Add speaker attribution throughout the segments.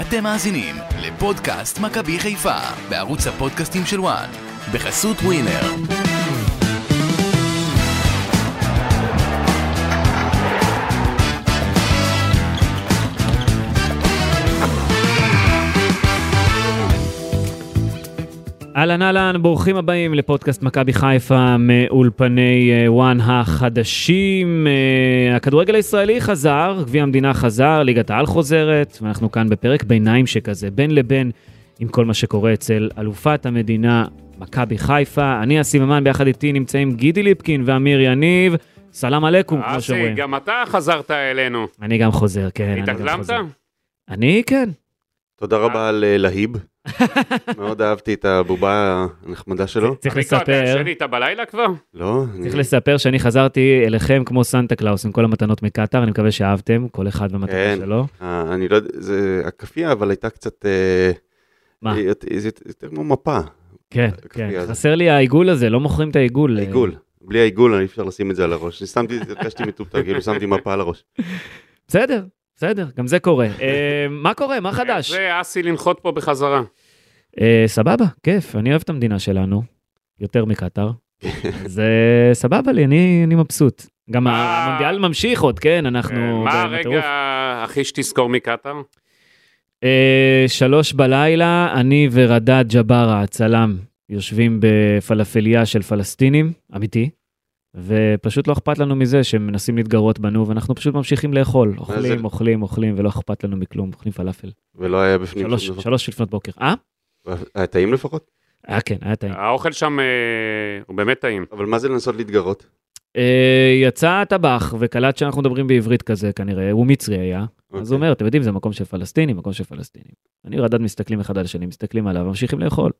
Speaker 1: אתם מאזינים לפודקאסט מכבי חיפה בערוץ הפודקאסטים של וואן בחסות ווינר.
Speaker 2: אהלן אהלן, ברוכים הבאים לפודקאסט מכבי חיפה מאולפני אה, וואן החדשים. אה, הכדורגל הישראלי חזר, גביע המדינה חזר, ליגת העל חוזרת, ואנחנו כאן בפרק ביניים שכזה, בין לבין, עם כל מה שקורה אצל אלופת המדינה מכבי חיפה. אני אסי ממן, ביחד איתי נמצאים גידי ליפקין ואמיר יניב. סלאם עליכום, כמו
Speaker 3: אה, אסי,
Speaker 2: שאומרים.
Speaker 3: גם אתה חזרת אלינו.
Speaker 2: אני גם חוזר, כן. אני גם
Speaker 3: התאקלמת?
Speaker 2: חוזר. אני כן.
Speaker 4: תודה רבה על אה, להיב. מאוד אהבתי את הבובה הנחמדה שלו.
Speaker 2: צריך
Speaker 3: ריקו, אתה
Speaker 2: לספר.
Speaker 3: ישן איתה בלילה כבר?
Speaker 4: לא,
Speaker 2: צריך
Speaker 4: אני-
Speaker 2: לספר שאני חזרתי אליכם כמו סנטה קלאוס עם כל המתנות מקטאר, אני מקווה שאהבתם, כל אחד והמתנה
Speaker 4: כן.
Speaker 2: שלו.
Speaker 4: אה, אני לא יודע, זה הכאפיה, אבל הייתה קצת... אה,
Speaker 2: מה?
Speaker 4: היא- היא- זה יותר כמו מפה,
Speaker 2: כן,
Speaker 3: אה,
Speaker 4: הכפייה
Speaker 2: כן.
Speaker 4: הזאת.
Speaker 2: חסר לי העיגול הזה, לא מוכרים את העיגול.
Speaker 4: עיגול. בלי העיגול אי אפשר לשים את זה על הראש. אני שמתי, הרגשתי מטומטם, כאילו שמתי מפה על הראש.
Speaker 2: אה, בסדר, בסדר, גם זה קורה. אה, מה קורה? מה חדש?
Speaker 3: אה, זה אסי לנחות פה בחזרה.
Speaker 2: אה, סבבה, כיף, אני אוהב את המדינה שלנו, יותר מקטאר. זה סבבה לי, אני אני מבסוט. גם
Speaker 3: מה-
Speaker 2: המונדיאל ממשיך עוד, כן, אנחנו...
Speaker 3: אה, מה
Speaker 2: בטירוף.
Speaker 3: הרגע הכי שתזכור מקטאר?
Speaker 2: אה, שלוש בלילה, אני ורדד ג'בארה, הצלם, יושבים בפלאפליה של פלסטינים, אמיתי, ופשוט לא אכפת לנו מזה שהם מנסים להתגרות בנו, ואנחנו פשוט ממשיכים לאכול. אוכלים,
Speaker 4: זה-
Speaker 2: אוכלים, אוכלים, ולא אכפת לנו מכלום, אוכלים פלאפל.
Speaker 4: ולא היה בפנים.
Speaker 2: שלוש,
Speaker 4: שום דבר.
Speaker 2: שלוש לפנות בוקר. אה?
Speaker 4: היה טעים לפחות?
Speaker 2: אה, כן, היה טעים.
Speaker 3: האוכל שם אה, הוא באמת טעים.
Speaker 4: אבל מה זה לנסות להתגרות?
Speaker 2: אה, יצא הטבח וקלט שאנחנו מדברים בעברית כזה כנראה, הוא מצרי היה. אז הוא
Speaker 4: אוקיי.
Speaker 2: אומר, אתם יודעים, זה מקום של פלסטינים, מקום של פלסטינים. אני ורדד מסתכלים אחד על השני, מסתכלים עליו, ממשיכים לאכול.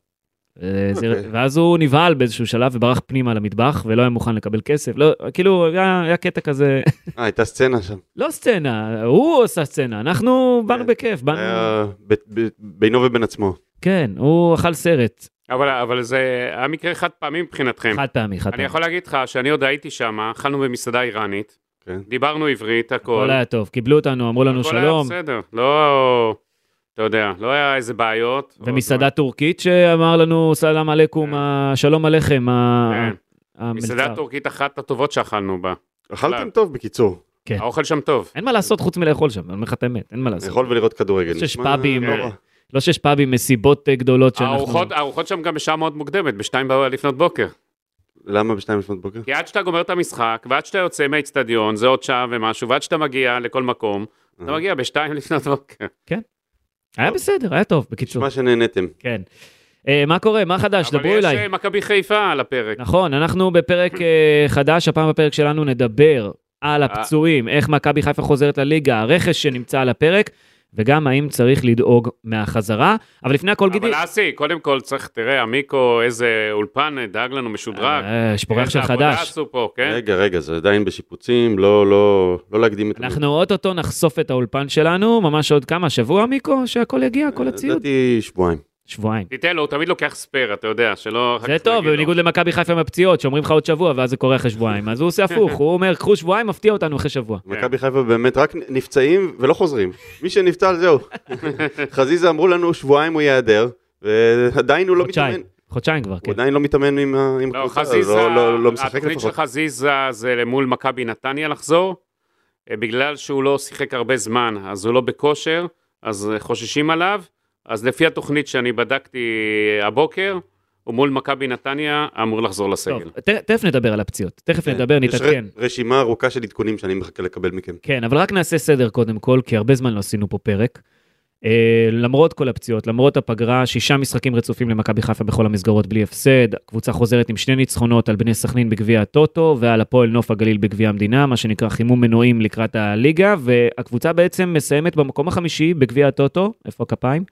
Speaker 2: אה, זה-
Speaker 4: אוקיי.
Speaker 2: ואז הוא נבהל באיזשהו שלב וברח פנימה למטבח ולא היה מוכן לקבל כסף. לא, כאילו, היה היה קטע כזה,
Speaker 4: אה, הייתה סצנה שם.
Speaker 2: לא סצנה, הוא עשה סצנה, אנחנו באנו
Speaker 3: אה,
Speaker 4: כן.
Speaker 2: בכיף, באנו...
Speaker 4: היה ב- ב- בינו ובין עצמו.
Speaker 2: כן, הוא אכל סרט,
Speaker 3: אבל- אבל זה היה מקרה חד פעמי מבחינתכם.
Speaker 2: חד פעמי, חד
Speaker 3: כן. אני
Speaker 2: פעמי.
Speaker 3: יכול להגיד לך שאני עוד הייתי שם, אכלנו במסעדה איראנית,
Speaker 4: כן.
Speaker 3: דיברנו עברית, הכל.
Speaker 2: הכל היה טוב, קיבלו אותנו, אמרו לנו
Speaker 3: הכל היה
Speaker 2: שלום,
Speaker 3: בסדר, לא... אתה יודע, לא היה איזה בעיות.
Speaker 2: ומסעדה טורקית שאמר לנו סלאם עליכום,
Speaker 3: אוקיי. כן.
Speaker 2: ה- שלום עליכם, ה-
Speaker 3: כן.
Speaker 2: המלצר.
Speaker 3: מסעדה טורקית אחת הטובות שאכלנו בה.
Speaker 4: אכלתם טוב, בקיצור.
Speaker 2: כן.
Speaker 3: האוכל שם טוב.
Speaker 2: אין מה לעשות חוץ מלאכול שם, אני אומר לך את האמת, אין מה לעשות.
Speaker 4: לאכול ולראות כדורגל.
Speaker 2: יש
Speaker 4: נשמע
Speaker 2: פאבים,
Speaker 4: לא רע.
Speaker 2: לא שיש פאבים, מסיבות אה, גדולות שאנחנו...
Speaker 3: הארוחות, הארוחות שם גם בשעה מאוד מוקדמת, בשתיים ב- לפנות בוקר.
Speaker 4: למה בשתיים לפנות בוקר?
Speaker 3: כי עד שאתה גומר את המשחק, ועד שאתה יוצא מהאיצטדיון, זה עוד שעה ומשהו, ועד שאתה מגיע לכל מקום, אתה מגיע בשתיים לפנות בוקר.
Speaker 2: היה בסדר, היה טוב, בקיצור.
Speaker 4: נשמע שנהנתם.
Speaker 2: כן. אה, מה קורה? מה חדש? דברו
Speaker 3: אבל יש
Speaker 2: אליי.
Speaker 3: אה, מכבי חיפה על הפרק.
Speaker 2: נכון, אנחנו בפרק אה, חדש, הפעם בפרק שלנו נדבר על
Speaker 3: אה.
Speaker 2: הפצועים, איך מכבי חיפה חוזרת לליגה, הרכש שנמצא על הפרק, וגם האם צריך לדאוג מהחזרה. אבל לפני הכל, גידי...
Speaker 3: אבל אסי, קודם כל צריך, תראה, המיקרו, איזה אולפן, אה, דאג לנו משודרג.
Speaker 2: אה, יש פה ריח של
Speaker 3: איזה עבודה
Speaker 2: חדש.
Speaker 3: עשו פה, כן?
Speaker 4: רגע, רגע, זה עדיין בשיפוצים, לא, לא, לא להקדים את...
Speaker 2: אנחנו אוטוטו נחשוף את האולפן שלנו, ממש עוד כמה, שבוע מיקו, שהכל יגיע, כל הציוד?
Speaker 4: לדעתי שבועיים.
Speaker 3: כן.
Speaker 2: שבועיים.
Speaker 3: תיתן לו, הוא תמיד לוקח ספייר, אתה יודע, שלא... אחר
Speaker 2: זה
Speaker 3: כך
Speaker 2: טוב,
Speaker 3: נגיד לו.
Speaker 2: בניגוד למכבי חיפה עם הפציעות, שאומרים לך עוד שבוע, ואז זה קורה אחרי שבועיים. אז הוא עושה הפוך, הוא אומר, קחו שבועיים, מפתיע אותנו אחרי שבוע.
Speaker 4: מכבי חיפה באמת רק נפצעים ולא חוזרים. מי שנפצע, זהו. חזיזה אמרו לנו שבועיים הוא ייעדר, ועדיין הוא לא מתאמן.
Speaker 2: חודשיים, חודשיים כבר,
Speaker 4: הוא
Speaker 2: כן.
Speaker 4: עדיין לא מתאמן עם ה- עם
Speaker 3: לא,
Speaker 4: קבוצה,
Speaker 3: חזיזה,
Speaker 4: לא- לא- לא משחק
Speaker 3: התוכנית
Speaker 4: לפחות.
Speaker 3: של חזיזה זה מול מכבי נתניה לחזור, אה, בגלל שהוא לא שיחק הרבה זמן, אז הוא לא בכושר, אז אה, חוששים עליו, אז לפי התוכנית שאני בדקתי אה, הבוקר, הוא מול מכבי נתניה אמור לחזור
Speaker 2: טוב,
Speaker 3: לסגל.
Speaker 2: ת- תכף נדבר על הפציעות, תכף נדבר,
Speaker 4: כן. יש
Speaker 2: כן. נתעדכן.
Speaker 4: ר- רשימה ארוכה של עדכונים שאני מחכה לקבל מכם.
Speaker 2: כן, אבל רק נעשה סדר קודם כל, כי הרבה זמן לא עשינו פה פרק. אה, למרות כל הפציעות, למרות הפגרה, שישה משחקים רצופים למכבי חיפה בכל המסגרות בלי הפסד. הקבוצה חוזרת עם שני ניצחונות על בני סכנין בגביע הטוטו ועל הפועל נוף הגליל בגביע המדינה, מה שנקרא חימום מנועים לקראת הליגה, והקבוצה בעצם מסיימת במקום החמישי בגביע הטוטו, איפה הכפיים?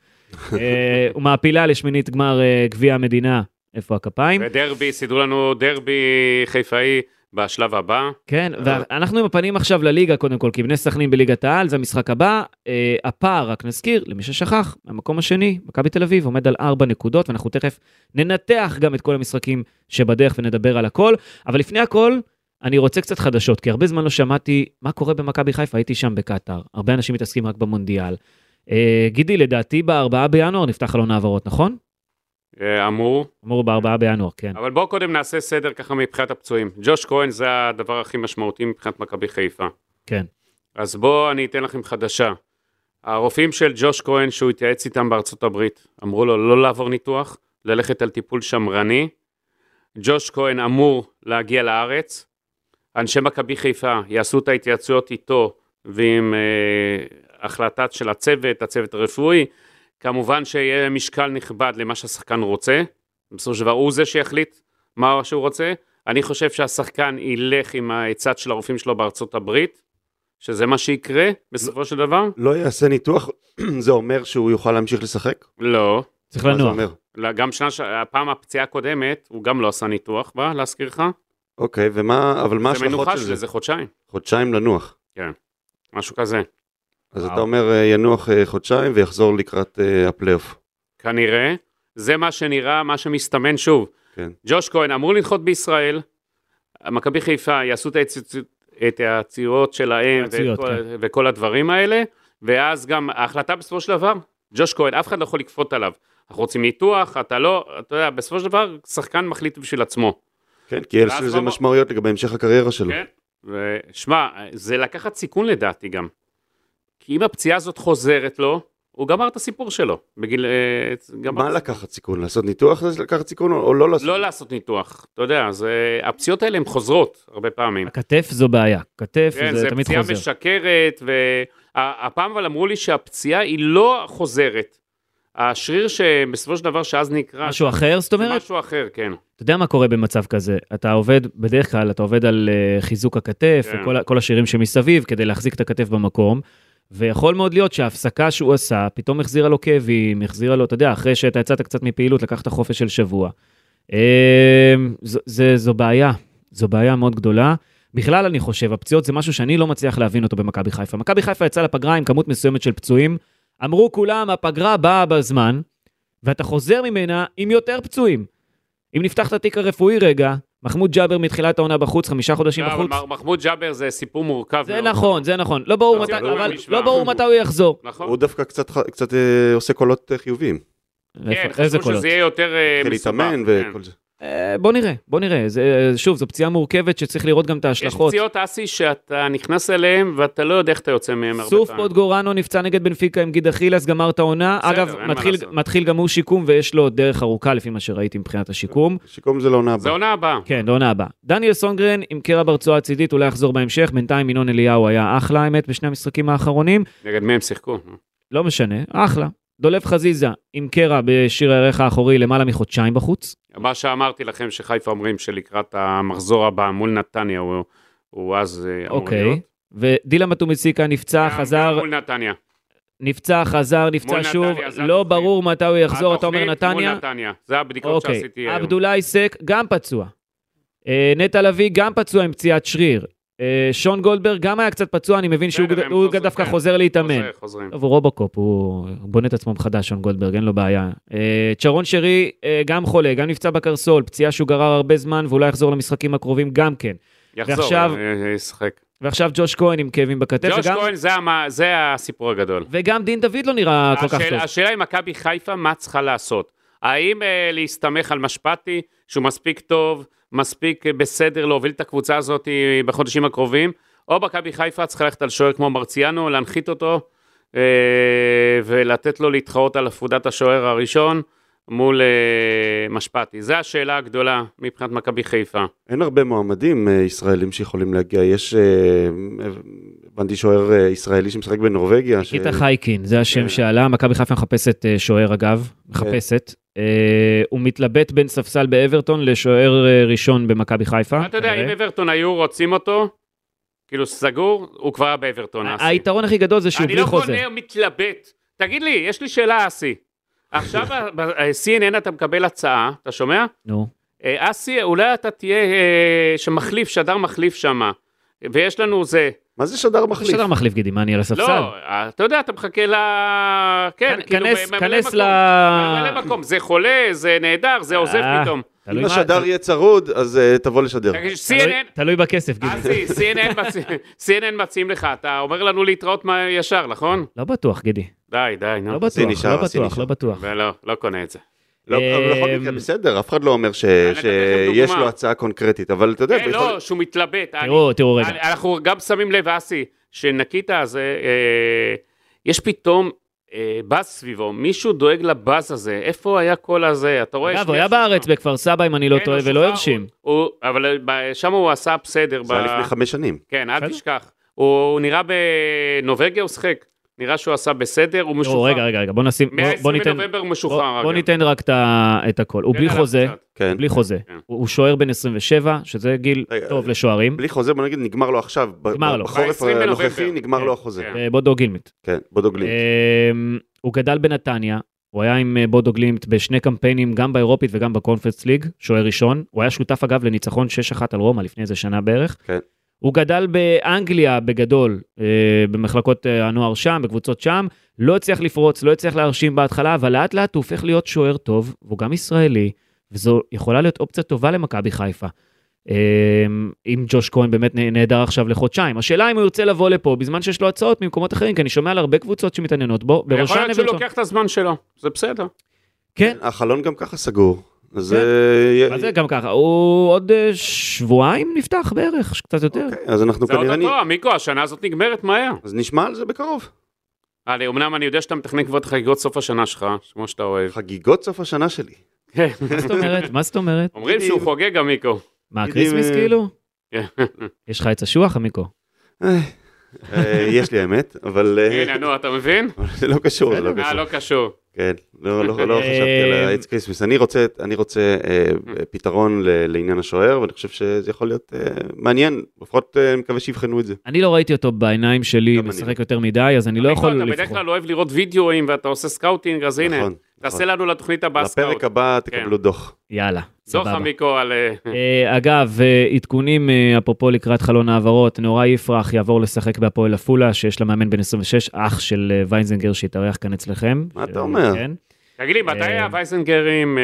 Speaker 2: אה, ומעפילה לשמינית גמר אה, גביע המדינה, איפה הכפיים?
Speaker 3: ודרבי, סידרו לנו דרבי חיפאי בשלב הבא.
Speaker 2: כן, ואנחנו עם הפנים עכשיו לליגה קודם כל, כי בני סכנין בליגת העל, זה המשחק הבא. אה, הפער, רק נזכיר, למי ששכח, המקום השני, מכבי תל אביב, עומד על ארבע נקודות, ואנחנו תכף ננתח גם את כל המשחקים שבדרך ונדבר על הכל. אבל לפני הכל, אני רוצה קצת חדשות, כי הרבה זמן לא שמעתי מה קורה במכבי חיפה, הייתי שם בקטאר. הרבה אנשים מתעסקים רק במונדיאל. אה, גידי, לדעתי ב-4 בינואר נפתח חלון העברות, נכון?
Speaker 3: אה, אמור.
Speaker 2: אמור ב-4 בינואר, כן.
Speaker 3: אבל בואו קודם נעשה סדר ככה מבחינת הפצועים. ג'וש כהן זה הדבר הכי משמעותי מבחינת מכבי חיפה.
Speaker 2: כן.
Speaker 3: אז בואו אני אתן לכם חדשה. הרופאים של ג'וש כהן שהוא התייעץ איתם בארצות הברית, אמרו לו לא לעבור ניתוח, ללכת על טיפול שמרני. ג'וש כהן אמור להגיע לארץ. אנשי מכבי חיפה יעשו את ההתייעצויות איתו ועם אה, החלטה של הצוות, הצוות הרפואי. כמובן שיהיה משקל נכבד למה שהשחקן רוצה. בסופו של דבר הוא זה שיחליט מה שהוא רוצה. אני חושב שהשחקן ילך עם העצת של הרופאים שלו בארצות הברית, שזה מה שיקרה בסופו של דבר.
Speaker 4: לא יעשה ניתוח, זה אומר שהוא יוכל להמשיך לשחק?
Speaker 3: לא.
Speaker 2: צריך
Speaker 4: מה זה
Speaker 2: לנוח.
Speaker 4: אומר?
Speaker 3: לא, גם שנה, ש- הפעם הפציעה הקודמת, הוא גם לא עשה ניתוח בה, להזכיר לך.
Speaker 4: אוקיי, ומה, אבל מה
Speaker 3: זה
Speaker 4: ההשלכות
Speaker 3: מנוחה
Speaker 4: של
Speaker 3: שלי,
Speaker 4: זה?
Speaker 3: זה חודשיים,
Speaker 4: חודשיים לנוח.
Speaker 3: משהו כזה.
Speaker 4: אז
Speaker 2: וואו.
Speaker 4: אתה אומר אה, ינוח אה, חודשיים ויחזור לקראת אה, הפלייאוף.
Speaker 3: כנראה. זה מה שנראה, מה שמסתמן שוב.
Speaker 4: כן.
Speaker 3: ג'וש כהן אמור לנחות בישראל, מכבי חיפה יעשו את ההצ- את העצירות שלהם ואת
Speaker 2: ההציות,
Speaker 3: כל, וכל הדברים האלה, ואז גם ההחלטה בסופו של דבר, ג'וש כהן, אף אחד לא יכול לכפות עליו. אנחנו רוצים ניתוח, אתה לא, אתה יודע, בסופו של דבר, שחקן מחליט בשביל עצמו.
Speaker 4: כן, כי יש
Speaker 3: ואז
Speaker 4: לזה
Speaker 3: לא-
Speaker 4: משמעויות לגבי המשך הקריירה שלו.
Speaker 3: כן. ושמע, זה לקחת סיכון לדעתי גם. כי אם הפציעה הזאת חוזרת לו, הוא גמר את הסיפור שלו. בגיל... אה, גמר
Speaker 4: מה לקחת סיכון? לעשות ניתוח זה לקחת סיכון או- או לא לעשות?
Speaker 3: לא לעשות ניתוח, אתה יודע, זה, הפציעות האלה הן חוזרות הרבה פעמים.
Speaker 2: הכתף זו בעיה, כתף
Speaker 3: כן,
Speaker 2: זה
Speaker 3: זה
Speaker 2: תמיד
Speaker 3: פציעה
Speaker 2: חוזר.
Speaker 3: משקרת, והפעם אבל אמרו לי שהפציעה היא לא חוזרת. השריר שבסופו של דבר שאז נקרע,
Speaker 2: משהו אחר, זאת
Speaker 3: זה
Speaker 2: אומרת?
Speaker 3: משהו אחר, כן.
Speaker 2: אתה יודע מה קורה במצב כזה? אתה עובד, בדרך כלל אתה עובד על אה, חיזוק הכתף,
Speaker 3: כן.
Speaker 2: וכל ה- כל השירים שמסביב, כדי להחזיק את הכתף במקום, ויכול מאוד להיות שההפסקה שהוא עשה, פתאום החזירה לו כאבים, החזירה לו, אתה יודע, אחרי שאתה יצאת קצת מפעילות, לקחת חופש של שבוע. אה, זו- זה- זו בעיה, זו בעיה מאוד גדולה. בכלל, אני חושב, הפציעות זה משהו שאני לא מצליח להבין אותו במכבי חיפה. מכבי חיפה יצאה לפגרה עם כמות מסוימת של פצועים, אמרו כולם, הפגרה באה בזמן, ואתה חוזר ממנה עם יותר פצועים. אם נפתח את התיק הרפואי רגע, מחמוד ג'אבר מתחילת העונה בחוץ, חמישה חודשים
Speaker 3: לא, אבל
Speaker 2: בחוץ.
Speaker 3: מח- מחמוד ג'אבר זה סיפור מורכב
Speaker 2: זה
Speaker 3: מאוד.
Speaker 2: נכון, זה נכון. לא ברור מתי,
Speaker 3: תוציאו אותו
Speaker 2: אבל
Speaker 3: מהמשוואה.
Speaker 2: לא ברור מתי הוא יחזור.
Speaker 3: נכון.
Speaker 4: הוא דווקא קצת ח- קצת אה, עושה קולות אה, חיוביים.
Speaker 3: כן,
Speaker 2: איפה- איזה
Speaker 3: חשבו
Speaker 2: קולות?
Speaker 3: שזה יהיה יותר אה,
Speaker 4: התחיל
Speaker 3: מסובך.
Speaker 4: להתאמן
Speaker 3: כן.
Speaker 4: וכל זה.
Speaker 2: אה, בוא נראה, בוא נראה. זה- אה, שוב, זו פציעה מורכבת שצריך לראות גם את
Speaker 3: יש
Speaker 2: ההשלכות.
Speaker 3: פציעות כן. אסי שאתה נכנס אליהן ואתה לא יודע איך אתה יוצא מהן הרבה פעמים.
Speaker 2: סוף פוד גורנו נפצע נגד בנפיקה עם גיד אכילס, גמר את העונה.
Speaker 3: בסדר,
Speaker 2: אגב,
Speaker 3: אין מה
Speaker 2: מתחיל-
Speaker 3: לעשות.
Speaker 2: מתחיל גם הוא שיקום ויש לו עוד דרך ארוכה לפי מה שראיתי מבחינת השיקום.
Speaker 4: שיקום זה לא לעונה
Speaker 3: זה
Speaker 4: הבאה.
Speaker 3: עונה הבאה.
Speaker 2: כן, לעונה הבאה. דניאל סונגרן עם קרע ברצועה הצידית, אולי יחזור בהמשך. בינתיים ינון אליהו היה אחלה, האמת, בשני המשחקים האחרונים.
Speaker 3: נגד מי הם שיחקו?
Speaker 2: לא משנה, אחלה. דולף חזיזה עם קרע בשיר הירך האחורי למעלה מחודשיים בחוץ.
Speaker 3: מה שאמרתי לכם שחיפה אומרים שלקראת המחזור הבא מול נתניה הוא, הוא אז אה, אמור להיות.
Speaker 2: אוקיי. ודילה מטומיסיקה נפצע,
Speaker 3: גם- גם
Speaker 2: חזר,
Speaker 3: מול נתניה.
Speaker 2: נפצע, חזר, נפצע
Speaker 3: מול
Speaker 2: שוב.
Speaker 3: נתניה, זה
Speaker 2: לא
Speaker 3: התוכנית.
Speaker 2: ברור מתי הוא יחזור, אתה אומר
Speaker 3: התוכנית
Speaker 2: נתניה?
Speaker 3: מול נתניה. זה הבדיקות
Speaker 2: אוקיי.
Speaker 3: שעשיתי אה, היום.
Speaker 2: עבדולאי סק גם פצוע. אה, נטע לביא גם פצוע עם פציעת שריר. אה, שון גולדברג גם היה קצת פצוע, אני מבין שהוא
Speaker 3: בסדר,
Speaker 2: גד-
Speaker 3: הם
Speaker 2: הוא
Speaker 3: חוזרים,
Speaker 2: דווקא
Speaker 3: כן.
Speaker 2: חוזר להתאמן.
Speaker 3: חוזר, חוזרים.
Speaker 2: טוב, הוא רובוקופ, הוא הוא בונה את עצמו מחדש, שון גולדברג, אין לו בעיה. אה, צ'רון שרי אה, גם חולה, גם נפצע בקרסול, פציעה שהוא גרר הרבה זמן ואולי יחזור למשחקים הקרובים גם כן.
Speaker 3: יחזור,
Speaker 2: ועכשיו-
Speaker 3: אה, אה, ישחק.
Speaker 2: ועכשיו ג'וש כהן עם כאבים בכתף,
Speaker 3: ג'וש
Speaker 2: וגם,
Speaker 3: כהן זה, המ- זה הסיפור הגדול.
Speaker 2: וגם דין דוד לא נראה כל כך
Speaker 3: השאל-
Speaker 2: טוב.
Speaker 3: השאלה היא מכבי חיפה, מה צריכה לעשות? האם אה, להסתמך על משפטי, שהוא מספיק טוב, מספיק אה, בסדר להוביל את הקבוצה הזאת אה, בחודשים הקרובים, או מכבי חיפה צריכה ללכת על שוער כמו מרציאנו, להנחית אותו, אה, ולתת לו להתחרות על עפודת השוער הראשון מול אה, משפטי. זו השאלה הגדולה מבחינת מכבי חיפה.
Speaker 4: אין הרבה מועמדים אה, ישראלים שיכולים להגיע. יש, אה, הבנתי שוער אה, ישראלי שמשחק בנורבגיה. ש-
Speaker 2: ניקיטה חייקין, זה השם
Speaker 4: כן.
Speaker 2: שעלה, מכבי חיפה מחפשת אה, שוער אגב, מחפשת.
Speaker 4: כן.
Speaker 2: אה, הוא מתלבט בין ספסל באברטון לשוער אה, ראשון במכבי חיפה.
Speaker 3: אתה יודע,
Speaker 2: כנראה.
Speaker 3: אם אברטון היו רוצים אותו, כאילו סגור, הוא כבר היה באברטון. אסי.
Speaker 2: היתרון הכי גדול זה שהוא
Speaker 3: אני
Speaker 2: בלי
Speaker 3: לא
Speaker 2: חוזה.
Speaker 3: קונה, מתלבט. תגיד לי, יש לי שאלה, אסי. עכשיו ב-CNN אתה מקבל הצעה, אתה שומע?
Speaker 2: נו,
Speaker 3: אה, אסי, אולי אתה תהיה אה, שמחליף, שדר מחליף שם. ויש לנו זה.
Speaker 4: מה זה שדר מחליף?
Speaker 2: שדר מחליף גידי, מה אני על הספסל?
Speaker 3: לא, אתה יודע, אתה מחכה ל... כן,
Speaker 2: כנ-
Speaker 3: כאילו,
Speaker 2: כנס-
Speaker 3: ממלא
Speaker 2: כנס
Speaker 3: מקום.
Speaker 2: ל...
Speaker 3: ממלא מקום, זה חולה, זה נהדר, זה עוזב
Speaker 2: אה,
Speaker 3: פתאום.
Speaker 2: תלוי
Speaker 4: אם
Speaker 2: מה-
Speaker 4: השדר יהיה צרוד, אז אה, תבוא לשדר.
Speaker 3: תגיד,
Speaker 2: תלוי-
Speaker 3: CNN,
Speaker 2: תלוי בכסף, גידי.
Speaker 3: אסי, CNN מציע- CNN מציעים לך, אתה אומר לנו להתראות מה- ישר, נכון?
Speaker 2: לא בטוח, גידי.
Speaker 3: די, די, נו.
Speaker 2: לא
Speaker 4: הסיני
Speaker 2: בטוח,
Speaker 4: שר,
Speaker 2: לא
Speaker 4: הסיני
Speaker 2: בטוח,
Speaker 4: שר.
Speaker 2: לא בטוח.
Speaker 3: ולא, לא קונה את זה.
Speaker 4: לא, אבל בכל מקרה
Speaker 2: אמ,
Speaker 4: בסדר, אף אחד לא אומר ש-
Speaker 3: אני אתן לכם
Speaker 4: שיש
Speaker 3: דוגמה.
Speaker 4: לו הצעה קונקרטית, אבל אתה יודע,
Speaker 3: כן,
Speaker 4: בכל-
Speaker 3: לא, שהוא מתלבט. אני-
Speaker 2: תראו, תראו רגע.
Speaker 3: אני- אנחנו גם שמים לב, אסי, שנקיטה הזה, אה, יש פתאום אה, באז סביבו, מישהו דואג לבאז הזה, איפה היה כל הזה, אתה רואה?
Speaker 2: אגב, הוא
Speaker 3: שנייה,
Speaker 2: היה
Speaker 3: שנייה.
Speaker 2: בארץ בכפר סבא, אם אני לא
Speaker 3: כן,
Speaker 2: טועה,
Speaker 3: הוא
Speaker 2: ולא
Speaker 3: שוחרר,
Speaker 2: הרשים.
Speaker 3: הוא- הוא- אבל ב- שם הוא עשה בסדר.
Speaker 4: זה היה
Speaker 3: ב-
Speaker 4: לפני חמש שנים.
Speaker 3: כן, אל
Speaker 2: בסדר.
Speaker 3: תשכח. הוא הוא נראה בנורבגיה, הוא שחק. נראה שהוא עשה בסדר, הוא
Speaker 2: תראו,
Speaker 3: משוחרר.
Speaker 2: לא, רגע, רגע, רגע, בוא נשים... בוא- בוא
Speaker 3: 120
Speaker 2: ניתן...
Speaker 3: בנובמבר הוא
Speaker 2: בוא-
Speaker 3: משוחרר.
Speaker 2: בוא
Speaker 3: אגב.
Speaker 2: ניתן רק את ה- את הכל. הוא
Speaker 3: תן
Speaker 2: בלי
Speaker 3: עליו
Speaker 2: חוזה,
Speaker 3: קצת.
Speaker 4: כן.
Speaker 2: בלי חוזה.
Speaker 3: כן.
Speaker 2: הוא הוא שוער בן 27, שזה גיל
Speaker 4: רגע,
Speaker 2: טוב לשוערים.
Speaker 4: בלי חוזה, בוא נגיד, נגמר לו עכשיו. ב-
Speaker 2: נגמר
Speaker 4: ב-
Speaker 2: לו.
Speaker 4: בחורף
Speaker 3: ב-עשרים בנובמבר.
Speaker 4: הנוכחי נגמר
Speaker 3: כן,
Speaker 4: לו החוזה.
Speaker 3: כן.
Speaker 2: אה, בודו גילמט.
Speaker 4: כן, בודוגלין.
Speaker 2: אמ, הוא גדל בנתניה, הוא היה עם אה, בודו גלימט בשני קמפיינים, גם באירופית וגם בקונפרנס ליג, שוער ראשון. הוא היה שותף אגב לניצחון 6-1 על רומא לפני איזה שנה בערך.
Speaker 4: כן.
Speaker 2: הוא גדל באנגליה בגדול, אה, במחלקות אה, הנוער שם, בקבוצות שם. לא הצליח לפרוץ, לא הצליח להרשים בהתחלה, אבל לאט לאט הוא הופך להיות שוער טוב, והוא גם ישראלי, וזו יכולה להיות אופציה טובה למכבי חיפה. אמ, אם ג'וש כהן באמת נ- נהדר עכשיו לחודשיים. השאלה אם הוא ירצה לבוא לפה בזמן שיש לו הצעות ממקומות אחרים, כי אני שומע על הרבה קבוצות שמתעניינות בו,
Speaker 3: יכול
Speaker 2: בראשן
Speaker 3: להיות שהוא
Speaker 2: אברטון.
Speaker 3: לוקח את הזמן שלו, זה בסדר.
Speaker 2: כן,
Speaker 4: החלון גם ככה סגור. אז...
Speaker 2: כן.
Speaker 4: אה,
Speaker 2: מה זה גם ככה, הוא עוד אה, שבועיים נפתח בערך, קצת יותר.
Speaker 4: אוקיי, אז אנחנו
Speaker 3: זה עוד
Speaker 4: כנראה... נ-
Speaker 3: אותו, מיקו, השנה הזאת נגמרת מהר.
Speaker 4: אז נשמע על זה בקרוב.
Speaker 3: אני, אמנם אני יודע שאתה מתכנן כבר את חגיגות סוף השנה שלך, כמו שאתה אוהב.
Speaker 4: חגיגות סוף השנה שלי.
Speaker 3: כן.
Speaker 2: מה זאת אומרת? מה זאת אומרת?
Speaker 3: אומרים שהוא חוגג, המיקו.
Speaker 2: מה,
Speaker 4: יודעים,
Speaker 2: כריסמס
Speaker 4: אה,
Speaker 2: כאילו?
Speaker 3: כן.
Speaker 2: יש לך עץ אשוח, עמיקו?
Speaker 4: אה, אה, יש לי האמת, אבל... אה,
Speaker 3: הנה, נו, אתה מבין?
Speaker 4: אבל זה לא קשור, זה לא
Speaker 3: אה,
Speaker 4: קשור.
Speaker 3: לא קשור.
Speaker 4: כן, לא, לא, לא
Speaker 2: אה,
Speaker 4: חשבתי על העץ כריסמס. אני רוצה, אני רוצה אה, אה, פתרון ל- לעניין השוער, ואני חושב שזה יכול להיות אה, מעניין, לפחות אה, אני מקווה שיבחנו את זה.
Speaker 2: אני לא ראיתי אותו בעיניים שלי
Speaker 4: גם אני.
Speaker 2: משחק יותר מדי, אז אני לא
Speaker 3: מיקו,
Speaker 2: יכול
Speaker 3: אתה בדרך
Speaker 2: לבחור.
Speaker 3: כלל אוהב לראות וידאוים ואתה עושה סקאוטינג, אז הנה,
Speaker 4: נכון,
Speaker 3: תעשה
Speaker 4: נכון.
Speaker 3: לנו כן. לתוכנית הבאה סקאוט.
Speaker 4: לפרק הבא תקבלו דוח.
Speaker 2: יאללה,
Speaker 3: זוך
Speaker 2: סבבה.
Speaker 3: המיקו על... אה,
Speaker 2: אה, אגב, אה, עדכונים, אה, אפרופו לקראת חלון העברות, נאורי יפרח יעבור לשחק בהפועל עפולה, שיש לה מאמן בן 26, אח של אה, ויינזינגר שהתארח כאן אצלכם.
Speaker 4: מה
Speaker 2: אה,
Speaker 4: אתה אומר?
Speaker 2: כן.
Speaker 3: תגיד לי, מתי
Speaker 2: אה,
Speaker 3: הווייזנגרים אה,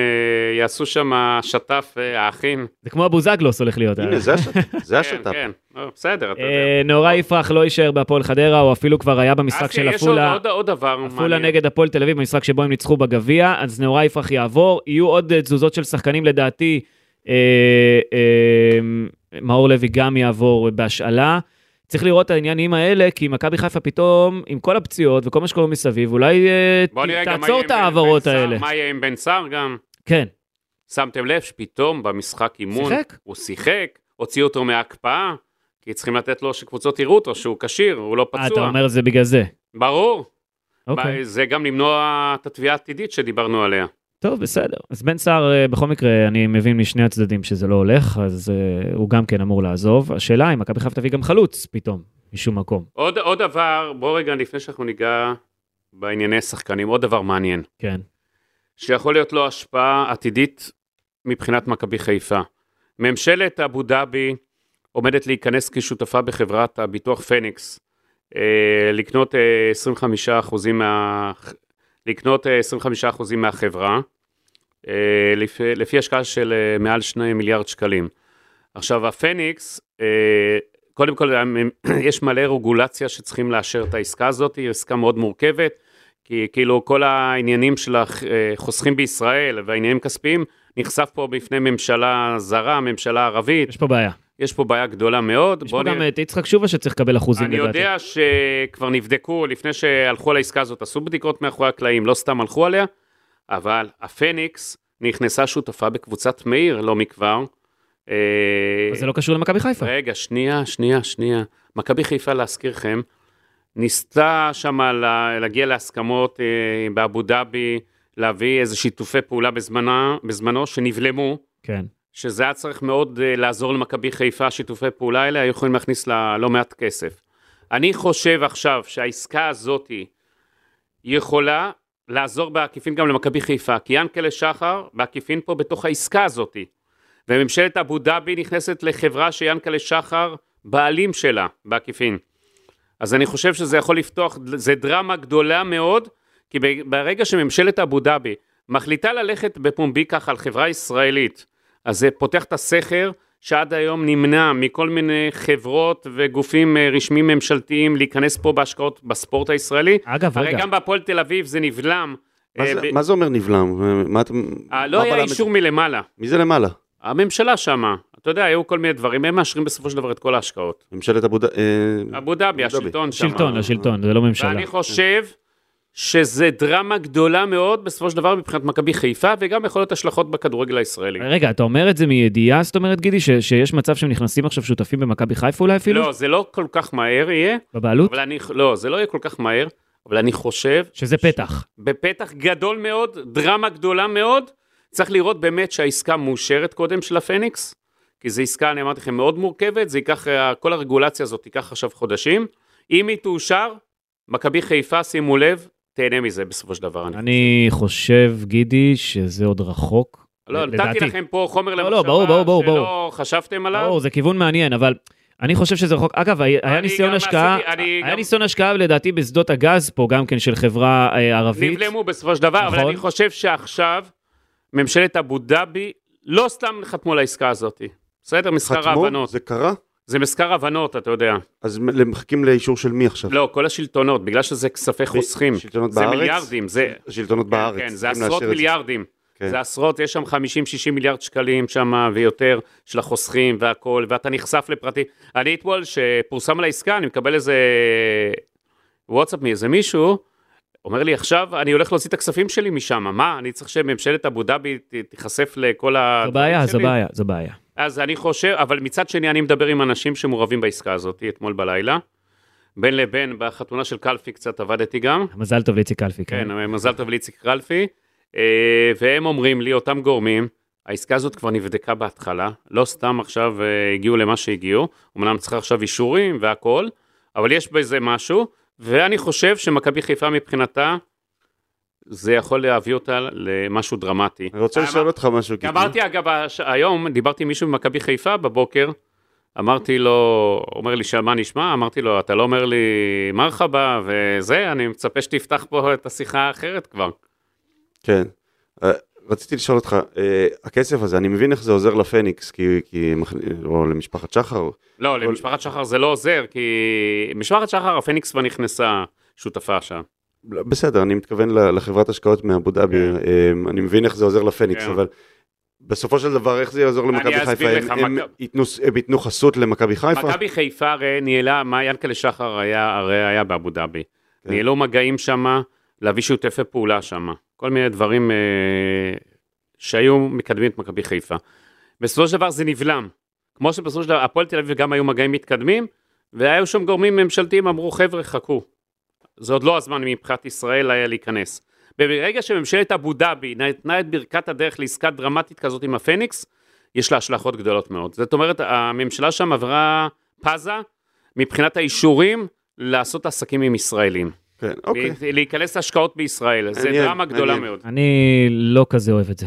Speaker 3: יעשו שם שת"פ אה, האחים?
Speaker 2: זה כמו הבוזגלוס הולך להיות.
Speaker 4: הנה, זה השת"פ, זה
Speaker 3: כן,
Speaker 4: השת"פ.
Speaker 3: כן, לא, בסדר, אתה יודע.
Speaker 2: אה, נאורי יפרח לא יישאר בהפועל חדרה, הוא אפילו כבר היה במשחק
Speaker 3: אסי,
Speaker 2: של
Speaker 3: אה, יש עוד-
Speaker 2: עפולה.
Speaker 3: עוד- עוד דבר
Speaker 2: עפולה
Speaker 3: מעניין.
Speaker 2: נגד הפועל תל אביב, במשחק שבו הם ניצחו בגביע, אז נאורי יפרח יעבור. יהיו עוד אה, תזוזות של שחקנים לדעתי. אה, אה, מאור לוי גם יעבור בהשאלה. צריך לראות את העניינים האלה, כי מכבי חיפה פתאום, עם כל הפציעות וכל מה שקורה מסביב, אולי אה,
Speaker 3: בוא נראה גם מה
Speaker 2: תעצור
Speaker 3: יהיה עם
Speaker 2: את
Speaker 3: בן-
Speaker 2: ההעברות
Speaker 3: בן סער,
Speaker 2: האלה.
Speaker 3: מה יהיה עם בן סער גם?
Speaker 2: כן,
Speaker 3: שמתם לב שפתאום במשחק אימון
Speaker 2: שיחק.
Speaker 3: הוא שיחק, הוציאו אותו מההקפאה, כי צריכים לתת לו שקבוצות יראו אותו, שהוא כשיר, הוא לא
Speaker 2: אה, אתה
Speaker 3: פצוע. אה,
Speaker 2: אומר זה בגלל זה.
Speaker 3: ברור.
Speaker 2: אוקיי.
Speaker 3: זה גם למנוע את התביעה העתידית שדיברנו עליה.
Speaker 2: טוב, בסדר. אז בן סער, אה, בכל מקרה, אני מבין משני הצדדים שזה לא הולך, אז אה, הוא גם כן אמור לעזוב. השאלה אם מכבי חיפה תביא גם חלוץ פתאום, משום מקום.
Speaker 3: עוד, עוד דבר, בוא רגע לפני שאנחנו ניגע בענייני שחקנים, עוד דבר מעניין,
Speaker 2: כן.
Speaker 3: שיכול להיות לו השפעה עתידית מבחינת מכבי חיפה. ממשלת אבו דאבי עומדת להיכנס כשותפה בחברת הביטוח פניקס, אה, לקנות אה, 25% מה... לקנות אה, 25% מהחברה, אה, לפי, לפי השקעה של אה, מעל 2 מיליארד שקלים. עכשיו, הפניקס, אה, קודם כל, הם- יש מלא רגולציה שצריכים לאשר את העסקה הזאת, היא עסקה מאוד מורכבת, כי כאילו כל העניינים של החוסכים בישראל והעניינים כספיים, נחשף פה בפני ממשלה זרה, ממשלה ערבית,
Speaker 2: יש פה בעיה.
Speaker 3: יש פה בעיה גדולה מאוד.
Speaker 2: יש
Speaker 3: בוא
Speaker 2: פה
Speaker 3: נראה.
Speaker 2: גם את יצחק שובה שצריך לקבל אחוזים
Speaker 3: אני
Speaker 2: לדעתי.
Speaker 3: יודע שכבר נבדקו, לפני שהלכו על העסקה הזאת, עשו בדיקות מאחורי הקלעים, לא סתם הלכו עליה, אבל הפניקס נכנסה שותפה בקבוצת מאיר לא מכבר. אה,
Speaker 2: אבל זה לא קשור למכבי חיפה.
Speaker 3: רגע, שנייה, שנייה, שנייה. מכבי חיפה, להזכירכם, ניסתה שם לה- להגיע להסכמות אה, באבו דאבי, להביא איזה שיתופי פעולה בזמנה, בזמנו, שנבלמו.
Speaker 2: כן.
Speaker 3: שזה היה צריך מאוד uh, לעזור למכבי חיפה, שיתופי פעולה האלה, היו יכולים להכניס לה לא מעט כסף. אני חושב עכשיו שהעסקה הזאת היא יכולה לעזור בעקיפין גם למכבי חיפה, כי ינקלה שחר בעקיפין פה בתוך העסקה הזאת, וממשלת אבו דאבי נכנסת לחברה שיאנקלה שחר בעלים שלה בעקיפין. אז אני חושב שזה יכול לפתוח, זה דרמה גדולה מאוד, כי ב- ברגע שממשלת אבו דאבי מחליטה ללכת בפומבי ככה על חברה ישראלית, אז זה פותח את הסכר, שעד היום נמנע מכל מיני חברות וגופים אה, רשמיים ממשלתיים להיכנס פה בהשקעות בספורט הישראלי.
Speaker 2: אגב,
Speaker 3: הרי
Speaker 2: רגע,
Speaker 3: גם בהפועל תל אביב זה נבלם.
Speaker 4: מה
Speaker 3: אה,
Speaker 4: זה-
Speaker 3: ב-
Speaker 4: מה זה אומר נבלם? מה אתם...
Speaker 3: אה,
Speaker 4: מה
Speaker 3: לא היה
Speaker 4: בלם את-
Speaker 3: אישור מלמעלה.
Speaker 4: מי זה למעלה?
Speaker 3: הממשלה שמה, אתה יודע, היו כל מיני דברים, הם מאשרים בסופו של דבר את כל ההשקעות.
Speaker 4: ממשלת אבו אה, דאבי.
Speaker 3: אבו דאבי,
Speaker 4: אבו דאבי.
Speaker 3: השלטון שם.
Speaker 2: שלטון, השלטון, זה לא ממשלה.
Speaker 3: ואני חושב שזה דרמה גדולה מאוד בסופו של דבר מבחינת מכבי חיפה, וגם יכול להיות השלכות בכדורגל הישראלי.
Speaker 2: רגע, אתה אומר את זה מידיעה, זאת אומרת, גידי, ש- שיש מצב שהם נכנסים עכשיו שותפים במכבי חיפה אולי אפילו?
Speaker 3: לא, זה לא כל כך מהר יהיה,
Speaker 2: בבעלות?
Speaker 3: אבל אני, לא, זה לא יהיה כל כך מהר, אבל אני חושב,
Speaker 2: שזה פתח.
Speaker 3: בפתח גדול מאוד, דרמה גדולה מאוד, צריך לראות באמת שהעסקה מאושרת קודם של הפניקס, כי זו עסקה, אני אמרתי לכם, מאוד מורכבת, זה ייקח, אה, כל הרגולציה הזאת תיקח עכשיו חודשים. אם היא תאושר, מכבי חיפה, שימו לב, תהנה מזה בסופו של דבר.
Speaker 2: אני חושב, גידי, שזה עוד רחוק.
Speaker 3: לא, נתתי
Speaker 2: לדעתי.
Speaker 3: לכם פה חומר
Speaker 2: לא,
Speaker 3: למחשבה,
Speaker 2: לא, ברור, ברור, ברור,
Speaker 3: שלא חשבתם עליו.
Speaker 2: ברור, זה כיוון מעניין, אבל אני חושב שזה רחוק. אגב, היה- היה
Speaker 3: לא. אני
Speaker 2: ניסיון
Speaker 3: גם
Speaker 2: השקעה,
Speaker 3: עשיתי- אני
Speaker 2: היה
Speaker 3: גם-
Speaker 2: ניסיון השקעה לדעתי בשדות הגז פה גם כן של חברה אה, ערבית.
Speaker 3: נבלמו בסופו של דבר, אבל
Speaker 2: נכון.
Speaker 3: אני חושב שעכשיו ממשלת אבו דאבי לא סתם חתמו לעסקה הזאת. בסדר, מזכר
Speaker 4: חתמו?
Speaker 3: ההבנות.
Speaker 4: זה קרה?
Speaker 3: זה מזכר הבנות, אתה יודע.
Speaker 4: אז מ- מחכים לאישור של מי עכשיו?
Speaker 3: לא, כל השלטונות, בגלל שזה כספי חוסכים.
Speaker 4: שלטונות
Speaker 3: זה
Speaker 4: בארץ?
Speaker 3: מיליארדים, זה...
Speaker 4: השלטונות בארץ.
Speaker 3: כן, זה
Speaker 4: צריכים
Speaker 3: עשרות
Speaker 4: לאשר את זה.
Speaker 3: מיליארדים.
Speaker 4: כן.
Speaker 3: זה עשרות, יש שם 50-60 מיליארד שקלים שם ויותר של החוסכים והכול, ואתה נחשף לפרטים. אני אתמול, שפורסם על העסקה, אני מקבל איזה וואטסאפ מאיזה מישהו, אומר לי, עכשיו אני הולך להוציא את הכספים שלי משם, מה, אני צריך שממשלת אבו דאבי ת- תיחשף לכל ה...
Speaker 2: זו בעיה, זו בעיה, זו בעיה.
Speaker 3: אז אני חושב, אבל מצד שני, אני מדבר עם אנשים שמעורבים בעסקה הזאת אתמול בלילה. בין לבין, בחתונה של קלפי קצת עבדתי גם.
Speaker 2: מזל טוב לאיציק קלפי. כן.
Speaker 3: כן, מזל טוב לאיציק קלפי. אה, והם אומרים לי, אותם גורמים, העסקה הזאת כבר נבדקה בהתחלה, לא סתם עכשיו אה, הגיעו למה שהגיעו, אמנם צריך עכשיו אישורים והכול, אבל יש בזה משהו, ואני חושב שמכבי חיפה מבחינתה, זה יכול להביא אותה למשהו דרמתי.
Speaker 4: אני רוצה
Speaker 3: אה, אמר-
Speaker 4: לשאול אותך משהו,
Speaker 3: כי
Speaker 4: גידי.
Speaker 3: כן, אמרתי, אגב, הש- היום דיברתי עם מישהו ממכבי חיפה בבוקר, אמרתי לו, הוא אומר לי, "שם, מה נשמע? אמרתי לו, אתה לא אומר לי מרחבה וזה, אני מצפה שתפתח פה את השיחה האחרת כבר.
Speaker 4: כן. אה, רציתי לשאול אותך, אה, הכסף הזה, אני מבין איך זה עוזר לפניקס, כי, כי, מכ- או למשפחת שחר,
Speaker 3: לא, למשפחת שחר זה לא עוזר, כי משפחת שחר, הפניקס כבר נכנסה שותפה שם.
Speaker 4: לא, בסדר, אני מתכוון ל- לחברת השקעות מאבו דאבי,
Speaker 3: כן.
Speaker 4: אמ, אני מבין איך זה עוזר לפניקס,
Speaker 3: כן.
Speaker 4: אבל בסופו של דבר, איך זה יעזור למכבי
Speaker 3: אסביר
Speaker 4: חיפה? הם-
Speaker 3: לך,
Speaker 4: הם
Speaker 3: מכב-
Speaker 4: ייתנו ס- הם ייתנו חסות למכבי חיפה?
Speaker 3: מכבי חיפה הרי ניהלה, מה ינקלה שחר היה, הרי היה באבו דאבי.
Speaker 4: כן.
Speaker 3: ניהלו מגעים שם, להביא שותפי פעולה שם. כל מיני דברים אה, שהיו מקדמים את מכבי חיפה. בסופו של דבר זה נבלם. כמו שבסופו של דבר, הפועל תל אביב גם היו מגעים מתקדמים, והיו שם גורמים ממשלתיים, אמרו, חבר'ה, חכו. זה עוד לא הזמן מבחינת ישראל היה להיכנס. וברגע שממשלת אבו דאבי נתנה את ברכת הדרך לעסקה דרמטית כזאת עם הפניקס, יש לה השלכות גדולות מאוד. זאת אומרת, הממשלה שם עברה פאזה מבחינת האישורים לעשות עסקים עם ישראלים.
Speaker 4: כן, אוקיי.
Speaker 3: לה- להיכנס להשקעות בישראל, זה
Speaker 4: מעניין,
Speaker 3: דרמה גדולה
Speaker 4: מעניין.
Speaker 3: מאוד.
Speaker 2: אני לא כזה אוהב את זה.